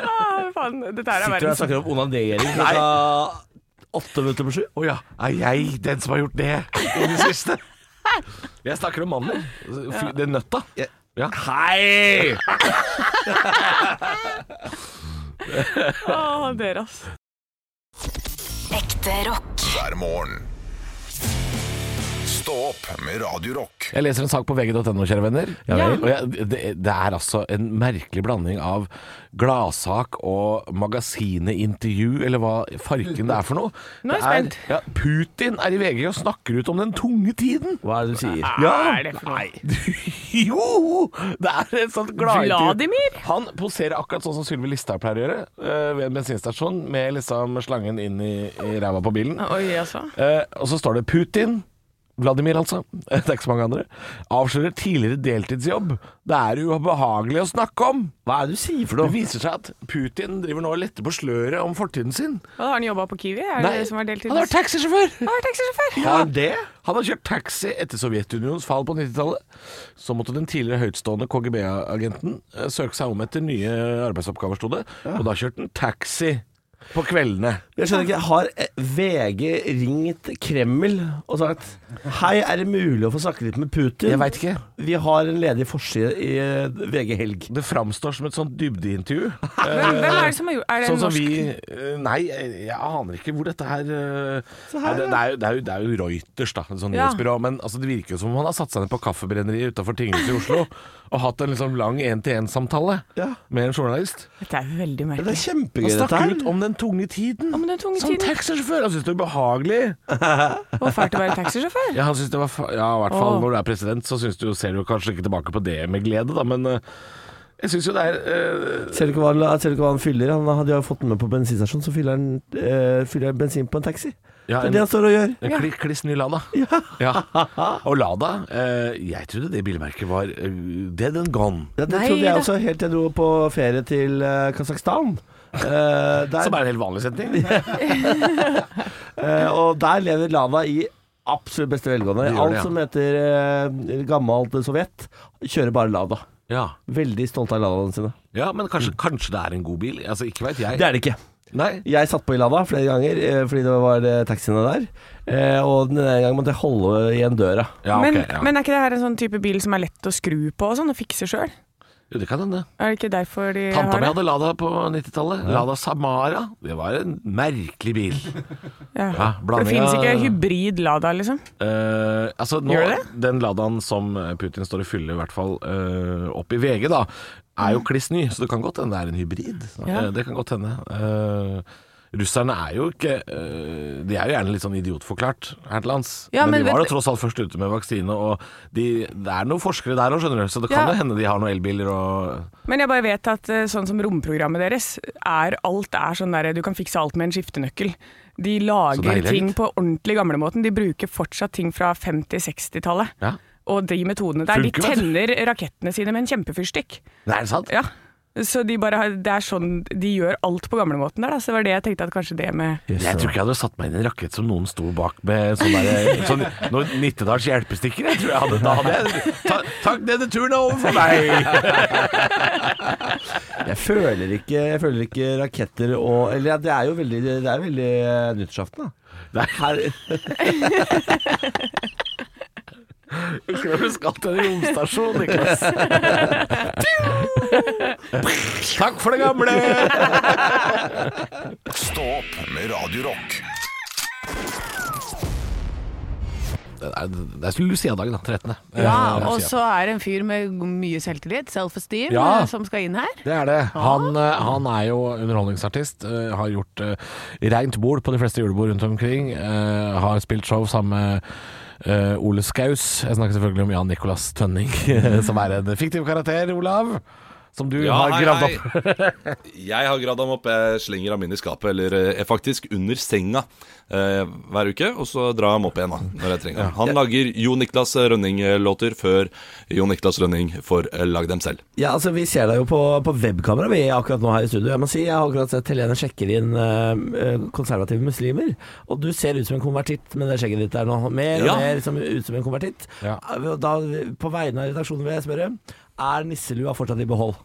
S5: Ah, faen, dette
S3: Sitter
S5: her er
S3: du og
S5: verdens
S3: snakker om onanering klokka åtte minutter på sju?
S4: Å ja, er jeg den som har gjort det i det
S5: [laughs]
S4: siste? Jeg snakker om mandler. Altså, Fy- Det er nøtta. Ja. Hei!
S5: Åh, dere, ass.
S1: Ekte rock.
S2: hver morgen. Stå opp med Radio Rock.
S4: Jeg leser en sak på vg.no, kjære venner.
S5: Ja.
S4: Og jeg, det, det er altså en merkelig blanding av gladsak og magasinet-intervju, eller hva farken det er for noe.
S5: [laughs] Nå er jeg
S4: Det
S5: spent.
S4: Ja, Putin er i VG og snakker ut om den tunge tiden. [laughs]
S3: Hva er det du sier?
S5: Hva er det for noe?
S4: Jo! Det er et sånt gladintervju.
S5: Vladimir?
S4: Han poserer akkurat sånn som Sylvi Listhaug pleier å gjøre, eh, ved en bensinstasjon, med liksom slangen inn i, i ræva på bilen.
S5: Oi, altså.
S4: Eh, og så står det Putin. Vladimir, altså. [laughs] Det er ikke så mange andre. Avslører tidligere deltidsjobb. Det er ubehagelig å snakke om.
S3: Hva er det du sier for
S4: Det
S3: noe?
S4: viser seg at Putin driver nå og letter på sløret om fortiden sin.
S5: Hva, Har han jobba på Kiwi? Er det det som er deltid?
S4: han har vært taxisjåfør! [laughs]
S5: Han har vært taxisjåfør!
S4: Ja. Han har kjørt taxi etter Sovjetunionens fall på 90-tallet. Så måtte den tidligere høytstående KGB-agenten eh, søke seg om etter nye arbeidsoppgaver, sto det. Og da kjørte han taxi på kveldene.
S3: Jeg skjønner ikke. Har eh, VG ringt Kreml og sagt Hei, er det mulig å få snakke litt med Putin?
S4: Jeg veit ikke.
S3: Vi har en ledig forside i eh, VG Helg.
S4: Det framstår som et sånt dybdeintervju. [laughs]
S5: Hvem, hvem er det som har gjort Er det
S4: Sånn
S5: en
S4: som
S5: norsk
S4: vi eh, Nei, jeg jeg aner ikke hvor dette her, eh,
S3: her,
S4: Nei, det, det, er jo, det, er jo, det er jo Reuters, da, et sånt
S5: Ja.
S4: nyhetsbyrå. Men altså, det virker jo som om han har satt seg ned på kaffebrenneriet utafor tinghuset i Oslo og hatt en liksom lang én-til-én-samtale
S3: Ja.
S4: med en journalist.
S5: Dette er veldig
S3: Det
S5: merkelig.
S3: er kjempegøy,
S4: Han
S3: dette
S4: snakker
S3: her.
S4: ut om den tunge tiden.
S5: Om den tunge
S4: som
S5: tiden.
S4: taxisjåfør. Han syns det er ubehagelig.
S5: Og fælt å være taxisjåfør.
S4: Ja, han synes det var fa ja, i hvert fall
S5: Åh.
S4: når du er president, så synes du, ser du kanskje ikke tilbake på det med glede, da, men eh, jeg syns jo det er eh,
S3: Ser du ikke hva han, ser du ikke hva han fyller? Han hadde jo fått den med på bensinstasjonen, så fyller han eh, fyller han bensin på en taxi. det
S4: ja, en-
S3: er det han står og gjør.
S4: En kli, kliss ny Lada. Ja. Og Lada eh, Jeg trodde det bilmerket var eh, dead and gone.
S3: Ja, det
S5: Nei
S3: trodde jeg
S5: da.
S3: også helt til jeg dro på ferie til eh, Kasakhstan. Eh, der,
S4: [laughs] Som er en helt vanlig setning.
S3: eh, og der lever Lada i absolutt beste velgående.
S4: Det gjør
S3: Alt
S4: det, ja.
S3: som heter eh, gammelt Sovjet, kjører bare Lada.
S4: Ja,
S3: Veldig stolte av Ladaene sine.
S4: ja men kanskje, kanskje det er en god bil? Altså, ikke veit jeg.
S3: Det er det ikke.
S4: Nei.
S3: Jeg satt på i Lada flere ganger eh, fordi det var eh, taxiene der. Eh, og den ene gangen måtte jeg holde igjen døra.
S4: Ja, ok,
S5: men,
S4: ja.
S5: men er ikke det her en sånn type bil som er lett å skru på og sånn, og fikse sjøl?
S4: Jo, det kan hende.
S5: Er det ikke derfor de
S4: Tanta mi
S5: har det?
S4: hadde Lada på 90-tallet. Lada Samara. Det var en merkelig bil. Ja,
S5: Ja. For det
S4: blanding
S5: finnes
S4: av-
S5: ikke hybrid Lada, liksom?
S4: Eh, altså nå,
S5: Gjør det?
S4: Den Ladaen som eh, Putin står og fyller, i hvert fall eh, opp i VG, da, er jo kliss ny, så det kan godt hende det er en hybrid.
S5: Mm. Ja.
S4: Eh, det kan godt hende. Eh, russerne er jo ikke eh, De er jo gjerne litt sånn idiotforklart her til lands.
S5: Ja,
S4: men,
S5: men
S4: de var
S5: vet-
S4: jo tross alt først ute med vaksine, og de, det er noen forskere der òg, skjønner du, så det kan
S5: Ja.
S4: jo hende de har noen elbiler og
S5: Men jeg bare vet at eh, sånn som romprogrammet deres, er alt er sånn der du kan fikse alt med en skiftenøkkel. De
S4: Så
S5: lager
S4: deilig,
S5: ting
S4: gitt.
S5: på ordentlig gamlemåten. De bruker fortsatt ting fra 50-60-tallet.
S4: Ja.
S5: Og de metodene der.
S4: Funker,
S5: de
S4: vet du.
S5: tenner rakettene sine med en kjempefyrstikk.
S4: Nei, er det sant?
S5: Ja. Så de bare har, det er sånn, de gjør alt på gamlemåten der, da. Så det var det jeg tenkte at kanskje det med
S4: Jeg tror ikke jeg hadde satt meg inn i en rakett som noen sto bak med sånn der, sånn, noen Nittedals hjelpestikker. Jeg tror jeg hadde, da hadde jeg ta, Takk, denne turen er over for meg!
S3: Jeg føler ikke, jeg føler ikke raketter og Eller ja, det er jo veldig, det er veldig eh, nyttårsaften, da.
S4: Nei.
S3: Her,
S4: Ikke når du skal til en romstasjon, Niklas. Takk for det gamle!
S2: Stå opp med Radio Rock.
S4: Det er, det er Lucia-dagen, da. 13.
S5: Ja,
S4: Eh,
S5: og
S4: Lucia.
S5: så er det en fyr med mye selvtillit, self-esteem,
S4: Ja.
S5: eh, som skal inn her.
S4: Det er det. Han, eh, han er jo underholdningsartist. eh, Har gjort eh, rent bord på de fleste julebord rundt omkring. eh, Har spilt show sammen med eh, Ole Skaus. Jeg snakker selvfølgelig om Jan Nicolas Tønning, [laughs] som er en fiktiv karakter, Olav. Som du
S7: Ja,
S4: har
S7: hei,
S4: gravd
S7: hei.
S4: opp.
S7: [laughs] Jeg har gravd ham opp. Jeg slenger ham inn i skapet, eller eh, er faktisk under senga eh, hver uke. Og så drar jeg ham opp igjen da, når jeg trenger ham. Han lager Jo Niklas Rønning-låter før Jo Niklas Rønning får eh, lage dem selv.
S3: ja, altså Vi ser deg jo på, på webkamera vi er akkurat nå her i studio. Jeg må si, jeg har akkurat sett Helene sjekker inn eh, konservative muslimer. Og du ser ut som en konvertitt med det skjegget ditt der nå. Mer og
S7: Ja.
S3: mer som, ut som en konvertitt. Eh,
S4: Ja.
S3: Da, på vegne av redaksjonen vil jeg spørre, er nisselua fortsatt i behold?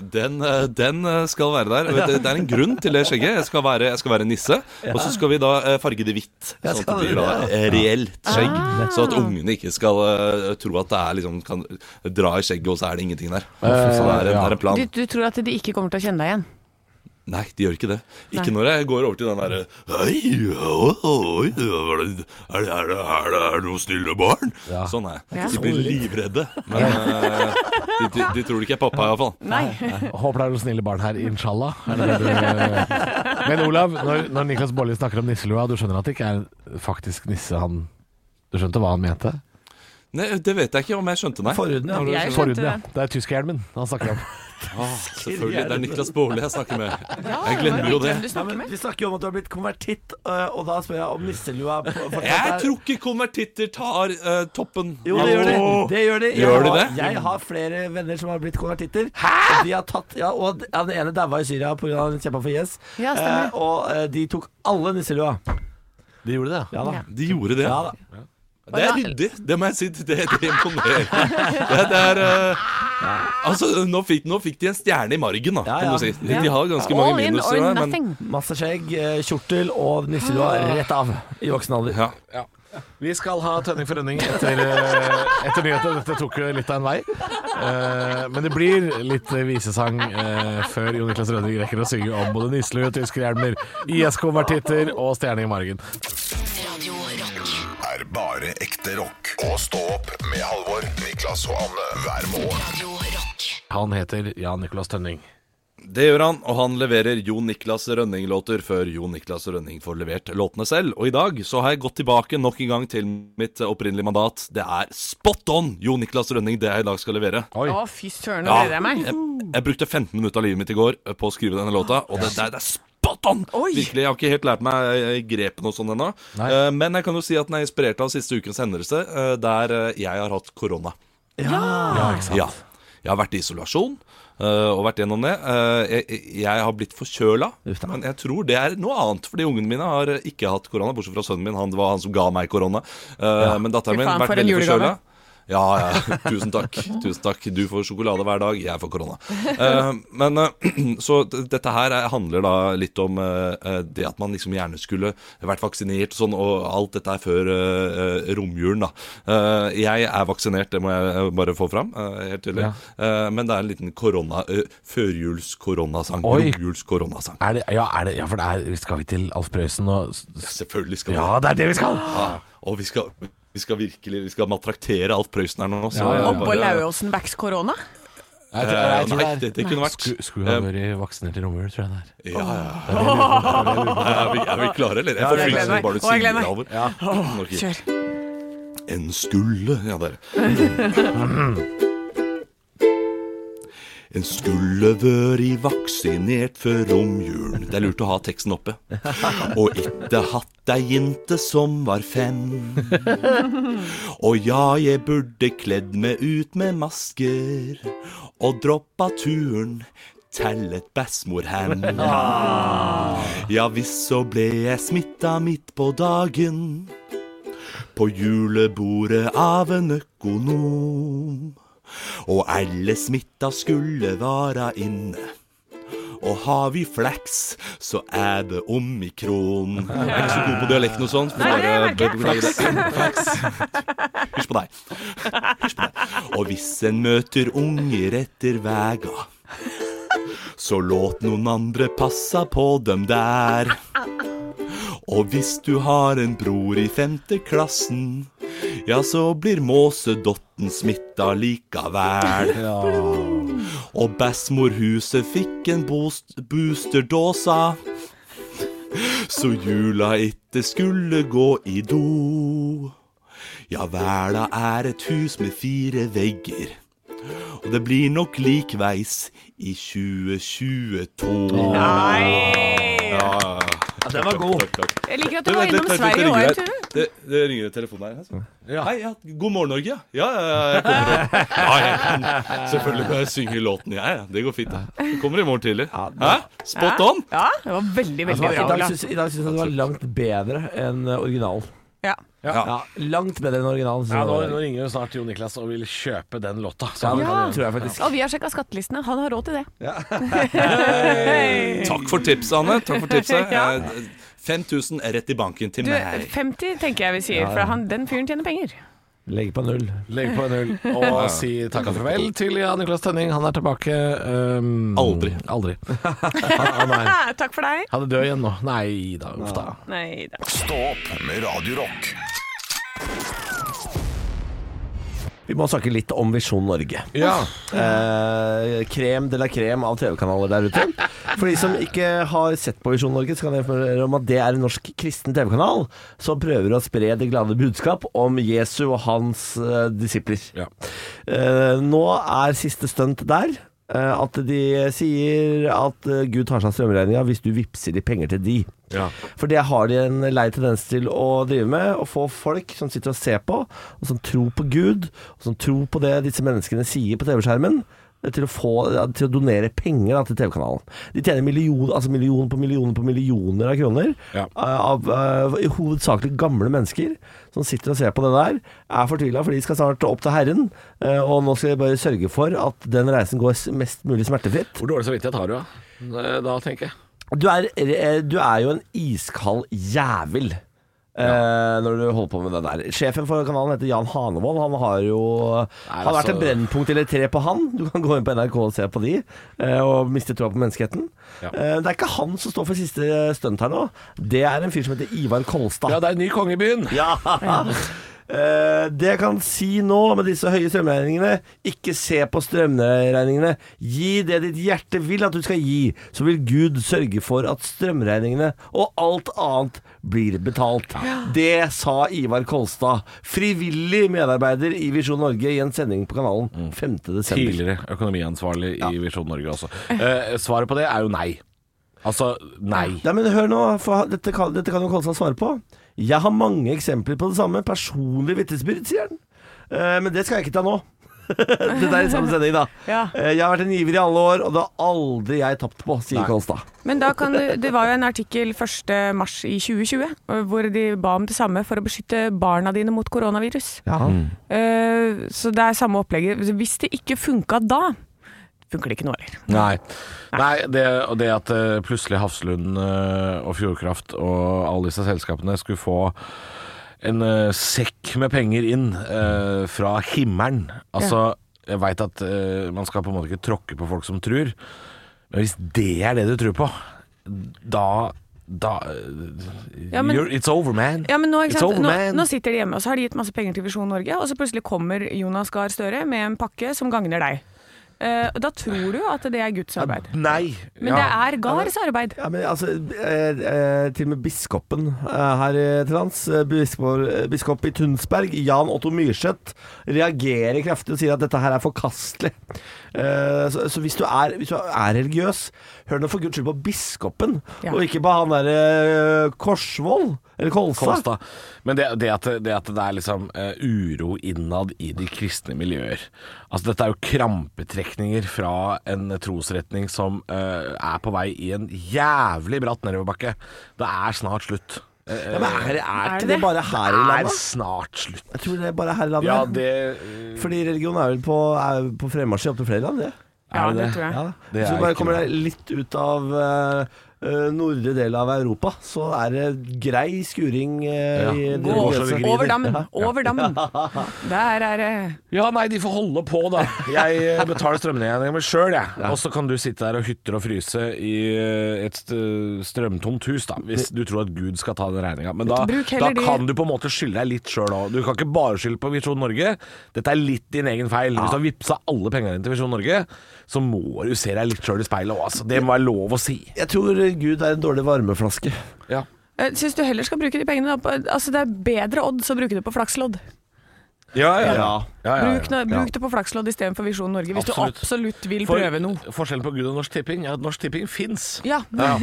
S7: Den, eh, den eh, skal være der. Vet du, Det er en grunn til det skjegget. Jeg skal være, jeg skal være nisse. Og så skal vi da eh, farge det hvitt,
S3: Ja,
S7: sånn at det
S3: skal
S7: blir
S3: du
S7: da
S3: det,
S7: eh, reelt skjegg. Så at ungene ikke skal eh, tro at det er liksom kan dra i skjegget, og så er det ingenting der. Så det er, en- det
S4: ja.
S7: er en plan.
S5: Du, du tror at de ikke kommer til å kjenne deg igjen?
S7: Nei, de gjør ikke det. Ikke
S5: Nei.
S7: når jeg går over til den derre Hei, oi, oi, er det, er det, er det, er det, er det noen snille barn? Sånn er jeg.
S5: Ja.
S7: De blir livredde. Men eh, de, de, de tror det ikke er pappa, iallfall.
S5: Nei.
S4: Håper det er noen snille barn her, inshallah. Er det det du... eh? Men Olav, når, når Niklas Baarli snakker om nisselua, du skjønner at det ikke er faktisk nisse han Du skjønte hva han mente?
S7: Nei, det vet jeg ikke om jeg skjønte, nei.
S3: Forhuden, ja.
S5: Jeg skjønte
S4: Forhuden, ja.
S5: det.
S4: Det er tyskerhjelmen han snakker om.
S7: Ah, selvfølgelig. Det er Niklas Baarli jeg snakker med. Jeg glemmer jo det.
S5: Du
S3: Ja,
S5: snakker
S3: men
S5: med.
S3: vi snakker jo om at du har blitt konvertitt, øh, og da spør jeg om nisselua på- fortsatt
S7: Jeg
S3: er-
S7: tror ikke konvertitter tar eh, toppen.
S3: Jo, det gjør de.
S7: Åh.
S3: Det gjør de. Jeg,
S7: Gjør de
S3: har,
S7: det?
S3: jeg har flere venner som har blitt konvertitter. Hæ?! De har tatt, ja, og d- ja, Den ene daua i Syria pga. at han kjempa for IS.
S5: Ja, stemmer.
S3: Eh, og eh, de tok alle nisselua.
S4: De gjorde det,
S3: Ja da.
S5: Ja.
S7: De gjorde det.
S3: Ja, da.
S7: Det er ryddig, det må jeg si. Det, det imponerer. Det, det er eh, Altså, nå fikk, nå fikk de en stjerne i margen, da,
S3: Ja,
S7: kan
S3: ja.
S7: du si. De, de har ganske
S5: All
S7: mange
S5: in or
S7: minuser der, men
S5: nothing.
S3: Masse skjegg, eh, kjortel og nisselua rett av i voksen alder.
S7: ja.
S4: Ja. Vi skal ha Tønning for Rønning etter, eh, etter nyhetene. Dette tok jo litt av en vei. Eh, Men det blir litt visesang eh, før Jon Niklas Rønning rekker å synge om både nisselue, tyskerhjelmer, IS-konvertitter og stjerne i margen.
S1: Radio Rock.
S2: Er bare ekte rock. Og stå opp med Halvor, Niklas og Anne hver morgen.
S1: Radio Rock.
S4: Han heter Jan Nicolas Tønning.
S7: Det gjør han, og han leverer Jon Niklas Rønning-låter før Jon Niklas Rønning får levert låtene selv. Og i dag så har jeg gått tilbake nok en gang til mitt eh, opprinnelige mandat. Det er spot on Jon Niklas Rønning, det jeg i dag skal levere.
S5: Å, fy søren, nå
S7: Ja.
S5: gleder jeg meg.
S7: Jeg, jeg brukte 15 minutter av livet mitt i går eh, på å skrive denne låta, og det, det, er- det er spot on!
S5: Oi!
S7: Virkelig, Jeg har ikke helt lært meg eh, grepene og sånn ennå.
S4: Nei.
S7: Eh, Men jeg kan jo si at den er inspirert av siste ukens hendelse, eh, der eh, jeg har hatt korona.
S4: Ja, ikke sant?
S7: Ja. Jeg har vært i isolasjon eh, og vært gjennom det. Eh, Jeg, jeg har blitt forkjøla,
S3: Uff da.
S7: men jeg tror det er noe annet. Fordi ungene mine har eh, ikke hatt korona, bortsett fra sønnen min. Han det var han som ga meg korona. Eh, Men datteren min
S5: Fy faen, for
S7: har vært
S5: en
S7: veldig
S5: julegave.
S7: forkjøla. Ja, ja. Tusen takk. Tusen takk. Du får sjokolade hver dag, jeg får korona. Eh, men eh, [clears throat] Så d- dette her er- handler da litt om eh, eh, det at man liksom gjerne skulle vært vaksinert og sånn, og alt dette er før eh, eh, romjulen, da. Eh, jeg er vaksinert, det må jeg eh, bare få fram, eh, helt tydelig. Eh, men det er en liten korona... Uh, Førjuls-koronasang.
S4: Oi.
S7: Romjuls-koronasang.
S4: Er det, ja, er det, ja, for det er, skal vi til Alf Prøysen og
S7: Selvfølgelig skal
S4: Ja, det er det vi skal!
S7: Ja, og vi skal, vi skal virkelig Vi skal maltraktere Alf Prøysen her nå. Så
S4: Ja, ja, ja.
S7: bare-
S5: Oppå Lauåsen backs korona?
S4: Jeg tror-
S7: Eh,
S4: jeg tror
S7: Nei,
S4: er-
S7: det, det kunne vært
S4: Skulle- Skulle ha vært vaksinert i romjula, tror jeg det er.
S7: Ja, ja, ja. Nei, Er, vi, er vi klare, eller? Jeg får
S5: jeg gleder
S7: frysninger
S5: meg.
S7: bare du
S5: Å, jeg
S7: sier
S5: gleder
S7: det,
S5: meg.
S7: Halvor. Ok.
S5: Kjør.
S7: En skulle Ja, der. En skulle væri vaksinert før romjulen. Det er lurt å ha teksten oppe. Og itte hatt ei jente som var fem. Og ja, jeg burde kledd meg ut med masker og droppa turen tellet bestemor hen. Ja visst så ble jeg smitta midt på dagen. På julebordet av en økonom. Og alle smitta skulle vara inne. Og har vi flaks, så er det
S5: [laughs]
S7: omikron. Jeg er ikke så god på dialekten og sånn. for
S5: Nei, det
S7: dere
S5: merker jeg.
S7: bør beklage det. Flaks. Hysj på deg. Hysj på deg. Og hvis en møter unger etter vega, så låt noen andre passa på dem der. Og hvis du har en bror i femte klassen, ja, så blir måsedotten smitta likevel. Og bestemorhuset fikk en boost, boosterdåsa. Så jula itte skulle gå i do. Ja, verda er et hus med fire vegger. Og det blir nok likveis i 2022.
S5: Nei!
S3: den var god.
S7: Takk, takk.
S5: Jeg liker at
S7: Du,
S5: du var
S7: vent litt,
S5: innom
S7: vent litt,
S5: Sverige òg en
S7: det ringer
S5: tur.
S7: her. Det, det ringer i telefonen her. altså. Hei, ja. God morgen, Norge. Ja, ja, ja, jeg kommer opp. Ja, jeg kan, selvfølgelig kan jeg synge låten, jeg. Ja, det går fint. det. Jeg kommer i morgen tidlig. Hæ? Spot on?
S5: Ja, det var veldig, veldig
S3: Altså, I dag
S5: fint.
S3: syns i dag syns jeg det var langt bedre enn eh, originalen.
S5: Ja.
S3: Ja, langt bedre enn originalen.
S4: Ja,
S3: synes
S4: nå,
S3: jeg det
S4: nå
S3: var.
S4: ringer jo snart Jo Niklas og vil kjøpe den låta. Så
S3: Ja,
S4: han
S3: det
S4: kan jo-
S3: tror jeg faktisk.
S5: Og vi har sjekka skattelistene. Han har råd til det.
S7: Takk for tipset, Anne. Takk for tipset.
S5: [laughs] Ja.
S7: Eh, 5000 er rett i banken til
S5: Du,
S7: meg.
S5: 50 tenker jeg vi sier, for han, den fyren tjener penger.
S3: Legg på null.
S4: Legg på en null og si takk og farvel til Jan Niklas Tønning. Han er tilbake um,
S7: Aldri.
S4: Aldri. Ah, nei.
S5: Ah, [laughs] takk for deg.
S4: Han er død igjen nå. Nei da, uff da.
S5: Nei da.
S2: Stå opp med Radio Rock.
S3: Vi må snakke litt om Visjon Norge.
S4: Ja.
S3: Eh, krem de la krem av TV-kanaler der ute. For de som ikke har sett på Visjon Norge, så kan jeg informere dere om at det er en norsk kristen TV-kanal som prøver å spre det glade budskap om Jesu og hans eh, disipler.
S4: Ja.
S3: Eh, nå er siste stunt der. eh, At de sier at eh, Gud tar seg av strømregninga hvis du vippser de penger til de.
S4: Ja.
S3: For det har de en lei tendens til å drive med. Å få folk som sitter og ser på, og som tror på Gud, og som tror på det disse menneskene sier på TV-skjermen. eh, Til å, få, ja, til å donere penger da, til TV-kanalen. De tjener million, altså million på millioner på millioner av kroner.
S4: Ja.
S3: eh, Av, eh, hovedsakelig gamle mennesker som sitter og ser på det der. Er fortvila, for de skal snart opp til Herren. eh, og nå skal de bare sørge for at den reisen går s- mest mulig smertefritt.
S4: Hvor dårlig samvittighet har du, da? Eh, Da, tenker jeg.
S3: Du er, eh, du er jo en iskald jævel eh, når du holder på med det der. Sjefen for kanalen heter Jan Hanevold. Han har jo Han har vært
S4: altså-
S3: et brennpunkt eller tre på han. Du kan gå inn på NRK og se på de, eh, og miste troa på menneskeheten.
S4: Ja.
S3: Eh, Det er ikke han som står for siste stunt her nå. Det er en fyr som heter Ivar Kolstad.
S4: Ja, det er en ny konge i byen.
S3: [laughs] Ja. Eh, det jeg kan si nå med disse høye strømregningene, ikke se på strømregningene. Gi det ditt hjerte vil at du skal gi, så vil Gud sørge for at strømregningene og alt annet blir betalt. Det sa Ivar Kolstad, frivillig medarbeider i Visjon Norge, i en sending på kanalen 5. desember.
S4: Tidligere økonomiansvarlig i Visjon Norge også. Eh, svaret på det er jo nei. Altså nei.
S3: Nei, men hør nå, for dette kan, dette kan jo Kolstad svare på. Jeg har mange eksempler på det samme. Personlig vitnesbyrd, sier han. Eh, men det skal jeg ikke ta nå. [laughs] det der er samme sending, da.
S5: Ja.
S3: Eh, jeg har vært en giver i alle år, og det har aldri jeg tapt på, sier Kolstad.
S5: Men da kan du, det var jo en artikkel 1. mars i 2020 eh, hvor de ba om det samme for å beskytte barna dine mot koronavirus.
S3: Mm.
S5: Eh, så det er samme opplegget. Hvis det ikke funka da, funker det ikke nå heller.
S4: Nei. Nei det, og det at eh, plutselig Hafslund eh, og Fjordkraft og alle disse selskapene skulle få en eh, sekk med penger inn eh, fra himmelen Altså, jeg veit at eh, man skal på en måte ikke tråkke på folk som tror, men hvis det er det du tror på, da da
S5: Ja, men-
S4: you're, It's over, man.
S5: Ja, men nå, ikke
S4: It's
S5: sant?
S4: over,
S5: Nå,
S4: man.
S5: nå sitter de hjemme, og så har de gitt masse penger til Visjon Norge, og så plutselig kommer Jonas Gahr Støre med en pakke som gagner deg. Eh, og da tror du at det er Guds arbeid.
S4: Nei.
S5: Men det er Gahrs arbeid.
S3: Ja, men altså, eh, eh, til og med biskopen eh, her eh, til lands, eh, biskop, eh, biskop i Tunsberg, Jan Otto Myrseth, reagerer kraftig og sier at dette her er forkastelig. Eh, så, så hvis du er, hvis du er religiøs, hør nå for guds skyld på biskopen,
S5: Ja.
S3: og ikke på han derre eh, Korsvoll. Eller Kolstad.
S4: Kolstad. Men det, det, at, det at det er liksom eh, uro innad i de kristne miljøer Altså Dette er jo krampetrekninger fra en trosretning som eh, er på vei i en jævlig bratt nedoverbakke. Det er snart slutt. Eh,
S3: Ja, men er, det- er
S5: Er
S3: ikke
S5: det
S3: det
S5: det?
S3: bare her i
S4: det er
S3: landet?
S4: snart slutt.
S3: Jeg tror det er bare her i landet.
S4: Ja, det eh,
S3: Fordi religion er vel på, er på fremmarsj i opptil flere land, det.
S5: Ja,
S4: det
S5: det
S4: det?
S5: tror jeg.
S3: Ja, da.
S4: Det
S3: Hvis
S4: er
S3: du bare
S4: ikke
S3: kommer
S4: bra.
S3: deg litt ut av eh, eh, nordre del av Europa, så er det grei skuring eh,
S4: Ja.
S3: i
S4: Gå
S3: det
S4: over så
S3: religiøse.
S4: det
S5: Over dammen, over dammen. Der er det
S4: Ja, nei, de får holde på, da. [laughs] Jeg eh, betaler strømregninga mi sjøl, jeg. Og så kan du sitte der og hytte og fryse i eh, et st- strømtomt hus, da. Hvis du tror at Gud skal ta den regninga. Men da,
S5: Bruk
S4: da
S5: heller de-
S4: kan du på en måte skylde deg litt sjøl òg. Du kan ikke bare skylde på Visjon Norge. Dette er litt din egen feil. Hvis du har vippsa alle pengene dine til Visjon Norge, så må du se deg litt sjøl i speilet òg, altså. Det må være lov å si.
S3: Jeg tror Gud er en dårlig varmeflaske.
S4: Ja.
S5: Jeg Eh, syns du heller skal bruke de pengene da på Altså, det er bedre odds å bruke det på flakslodd.
S4: Ja, ja, ja. ja, ja,
S5: Bruk, nå- bruk det på flakslodd istedenfor Visjon Norge, hvis
S4: Absolutt.
S5: du absolutt vil
S4: For-
S5: prøve noe.
S4: Forskjellen på Gud og Norsk Tipping er at Norsk Tipping fins.
S5: Ja.
S4: Ja.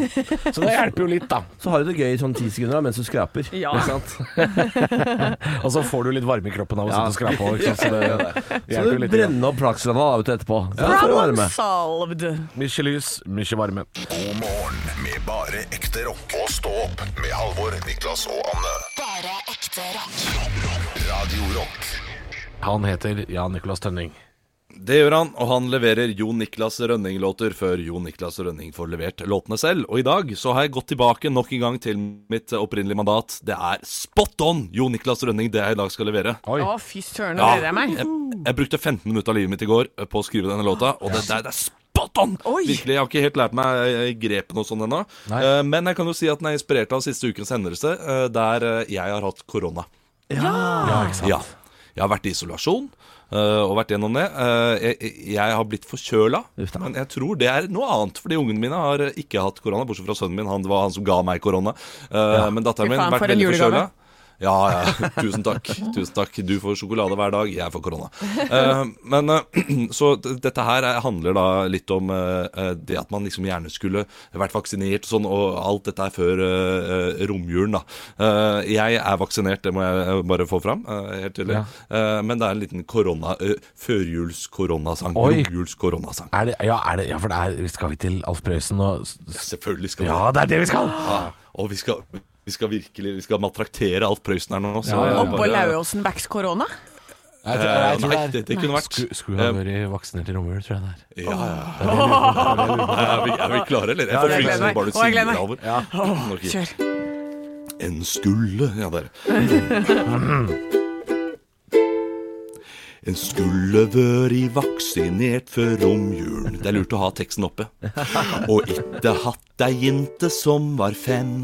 S4: Så det hjelper jo litt, da.
S3: Så har du det gøy i sånn ti sekunder da, mens du skraper.
S5: Ja.
S3: Ikke sant?
S4: Og så får du litt varme i kroppen av å sitte og skrape òg. Så [laughs] det
S3: Så
S4: hjelper jo
S3: du
S4: litt. grann.
S3: brenner opp plakslene da, vet du, etterpå. Så får du
S5: Problem
S3: varme.
S5: solved!
S4: Mykje lys, mykje varme.
S2: God morgen med bare ekte rock. Og stå opp med Halvor, Niklas og Anne.
S1: Bare ekte rock.
S2: Radio Rock.
S4: Han heter Jan Nicolas Tønning.
S7: Det gjør han, og han leverer Jon Niklas Rønning-låter før Jon Niklas Rønning får levert låtene selv. Og i dag så har jeg gått tilbake nok en gang til mitt opprinnelige mandat. Det er spot on Jon Niklas Rønning det jeg i dag skal levere.
S4: Oi.
S5: Å, fy søren, nå gleder jeg meg.
S7: jeg, jeg brukte 15 minutter av livet mitt i går eh, på å skrive denne låta, og det, det, er- det er spot on!
S5: Oi.
S7: Virkelig, Jeg har ikke helt lært meg eh, grepene og sånn ennå.
S4: Nei.
S7: Eh, Men jeg kan jo si at den er inspirert av siste ukens hendelse, eh, der eh, jeg har hatt korona.
S4: Ja, ikke sant.
S7: Ja. Jeg har vært i isolasjon øh, og vært gjennom det. Eh, jeg, jeg har blitt forkjøla,
S3: Uff da.
S7: men jeg tror det er noe annet. Fordi ungene mine har eh, ikke hatt korona, bortsett fra sønnen min. Han det var han som ga meg korona. Eh, Men datteren
S5: Fy
S7: min
S5: faen,
S7: har
S5: for
S7: vært
S5: en
S7: veldig forkjøla.
S5: julegave.
S7: Ja, ja. [laughs] Tusen takk. Tusen takk. Du får sjokolade hver dag, jeg får korona. Eh, men eh, [clears throat] Så d- dette her er- handler da litt om eh, eh, det at man liksom gjerne skulle vært vaksinert og sånn, og alt dette er før eh, eh, romjulen, da. Eh, jeg er vaksinert, det må jeg eh, bare få fram. eh, helt tydelig. Eh, men det er en liten korona... Uh, Førjuls-koronasang.
S4: Oi.
S7: Romjuls-koronasang.
S4: Er det, ja, er det, ja, for det er, skal vi til Alf Prøysen og s- s-
S7: Selvfølgelig skal vi
S4: Ja, det er det vi skal!
S7: Ja, Og vi skal, vi skal virkelig Vi skal maltraktere Alf Prøysen her nå. Så
S4: Ja, ja.
S5: Oppå Lauåsen backs korona?
S4: Jeg tror-
S7: Eh,
S4: jeg tror
S7: Nei,
S4: er-
S7: det, det kunne vært Eh,
S4: Sku- Skulle ha vært vaksinert i romjul, tror jeg det er.
S7: Ja, ja. Er vi, er vi klare, eller? Jeg får
S5: jeg
S7: frysninger
S5: gleder meg.
S7: bare du
S5: Å, jeg
S7: sier
S5: gleder
S7: det,
S5: meg.
S7: Halvor. Ok.
S5: Kjør.
S7: En skulle Ja, der. En skulle væri vaksinert før romjulen. Det er lurt å ha teksten oppe. Og itte hatt ei jente som var fem.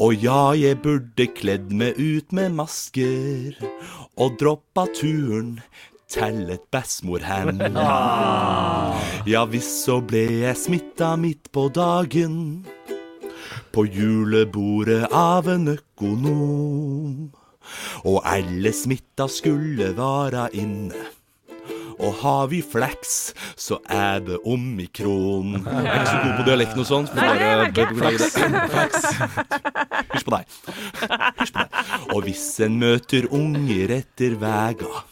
S7: Og ja, jeg burde kledd meg ut med masker og droppa turen til et Bessmorhem. Ja visst så ble jeg smitta midt på dagen på julebordet av en økonom. Og alle smitta skulle vara inne. Og har vi flaks, så er det omikron. Jeg er ikke så god på dialekten og sånn.
S5: Nei, det
S7: beklager-
S5: merker jeg.
S7: beklager. Hysj på deg. Hysj på deg. Og hvis en møter unger etter vega,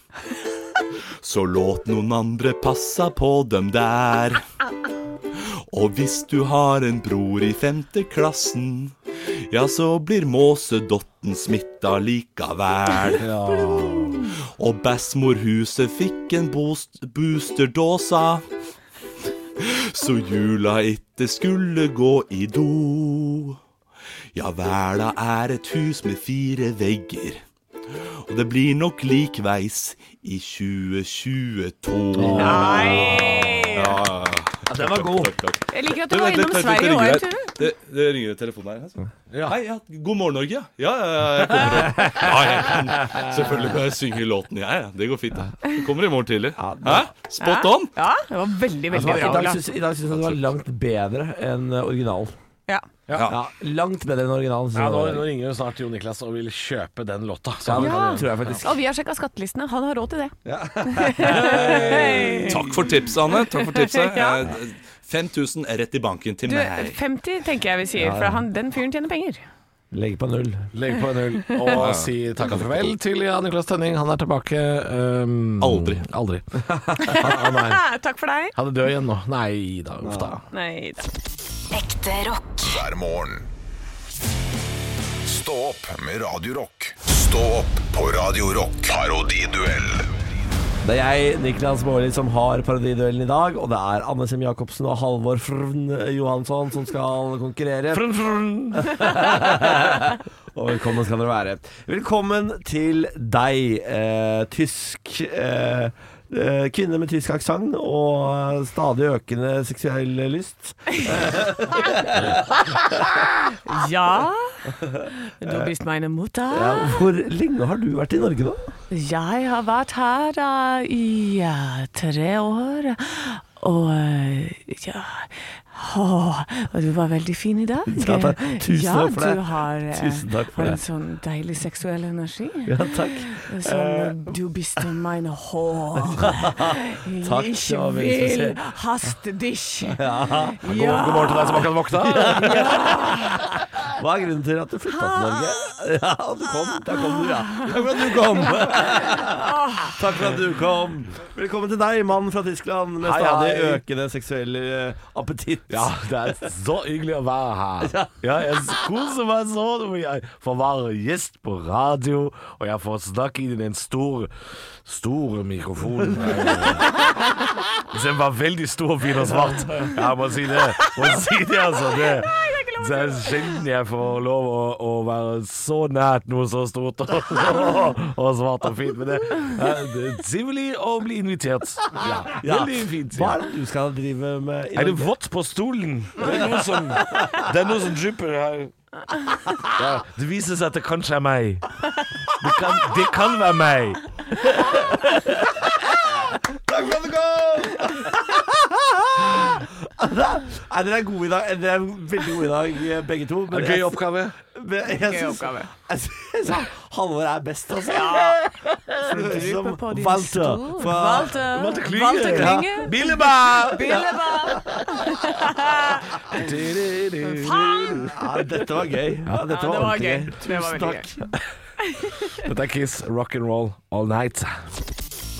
S7: så låt noen andre passa på dem der. Og hvis du har en bror i femte klassen, ja, så blir måsedotten smitta likevel. Og bestemorhuset fikk en boost boosterdåsa. Så jula itte skulle gå i do. Ja, verda er et hus med fire vegger. Og det blir nok likveis i 2022.
S5: Nei!
S7: Ja,
S3: Ja, den var god.
S7: takk, takk.
S5: Jeg liker at
S7: Du,
S5: du var
S7: vent litt,
S5: innom
S7: vent litt,
S5: Sverige òg
S7: det ringer
S5: en
S7: her.
S5: tur.
S7: Det, det ringer i telefonen her. altså.
S4: Ja.
S7: Hei, ja. God morgen, Norge. Ja, ja, ja jeg kommer. Ja, jeg kan. Selvfølgelig kan jeg synge låten, jeg. Ja, det går fint. Det kommer i morgen tidlig. Hæ? Spot on!
S5: Ja, det var veldig, veldig
S3: I
S5: bra.
S3: dag
S5: Ola.
S3: syns i dag syns jeg det var langt bedre enn eh, originalen.
S5: Ja.
S3: Ja, langt bedre enn originalen.
S4: Ja,
S3: synes
S4: nå,
S3: jeg det
S4: nå
S3: var.
S4: ringer jo snart Jo Niklas og vil kjøpe den låta. Så
S3: Ja,
S4: han
S3: det
S5: Ja.
S3: tror jeg faktisk.
S5: Og vi har sjekka skattelistene. Han har råd til det. [laughs]
S7: Takk for tipset, Anne. Takk for tipset. Eh, 5000 er rett i banken til
S5: Du,
S7: meg.
S5: 50 tenker jeg vi sier, for han, den fyren tjener penger.
S3: Legg på null.
S4: Legg på en null og si takk og farvel til Jan Niklas Tønning. Han er tilbake ehm,
S7: Aldri.
S4: Aldri. Han, han, er,
S5: [laughs] Takk for deg.
S4: han er død igjen nå. Nei da, uff da.
S5: Nei da.
S1: Ekte rock.
S2: hver morgen. Stå opp med Radio Rock. Stå opp på Radio Rock. Parodiduell
S3: Det er jeg, Niklas Baarli, som har parodiduellen i dag. Og det er Anne Sem Jacobsen og Halvor Frn Johansson som skal konkurrere. [laughs] og velkommen skal dere være. Velkommen til deg, eh, tysk eh, eh, Kvinne med tysk aksent og stadig økende seksuell lyst.
S5: Ja Du bist meine Mutter.
S3: Ja, hvor lenge har du vært i Norge nå?
S5: Jeg har vært her da, i ja, tre år. Og ja Åh, og du var veldig fin i dag.
S3: Ja, takk. Tusen
S5: ja,
S3: takk for det.
S5: Du har, eh,
S3: Tusen takk for
S5: har
S3: det.
S5: en sånn deilig seksuell energi.
S3: Ja, takk. Eh,
S5: Som du biste mine
S3: [laughs]
S5: hår.
S3: Takk,
S5: Jeg
S3: det var veldig
S5: vil
S3: spesielt.
S5: haste
S3: [laughs]
S5: dich.
S4: God, god morgen til deg som akkurat våkna.
S3: Hva er grunnen til at du flytta til Norge? Ja, du kom. Der kom du, ja. Takk for at du kom. Takk for at du kom. Velkommen til deg, mann fra Tyskland med
S4: Hei,
S3: stadig
S4: hei.
S3: økende seksuell eh, appetitt.
S4: Ja, det er så hyggelig å være her. Ja, jeg koser meg sånn. og Jeg får være gjest på radio, og jeg får snakke inn i den store, store mikrofonen. Den var veldig stor, fin og svart. Jeg må si det. Må si det, altså. Det, det er sjelden jeg får lov å, å være så nært noe så stort og, og, svart og fint. Men det er det er trivelig å bli invitert. Ja,
S3: Ja.
S4: Veldig fint.
S3: Hva er det du skal drive med i
S4: Er det
S3: Norge?
S4: vått på stolen? Det er noe som Det er noe som drypper her. Ja, det viser seg at det kanskje er meg. Det kan, det kan være meg.
S3: Takk for at du kom! [laughs] Nei, dere er gode i dag. Dere er veldig gode i dag, eh, begge to. men jeg-
S4: oppgave.
S3: men jeg syns-
S5: oppgave.
S3: Jeg syns Halvor er best, altså. Som Walter
S5: Walter.
S3: fra
S4: Walter
S5: Walter
S4: Klinge.
S5: Walter Klinge.
S4: Billeba!
S5: Billeba. Faen!
S3: Ja, dette var gøy. Ja, dette
S5: Ja,
S3: var
S5: det var
S3: ordentlig
S5: gøy. Det var
S3: Tusen
S5: veldig
S3: takk.
S4: Dette er Kiss rock and roll all night.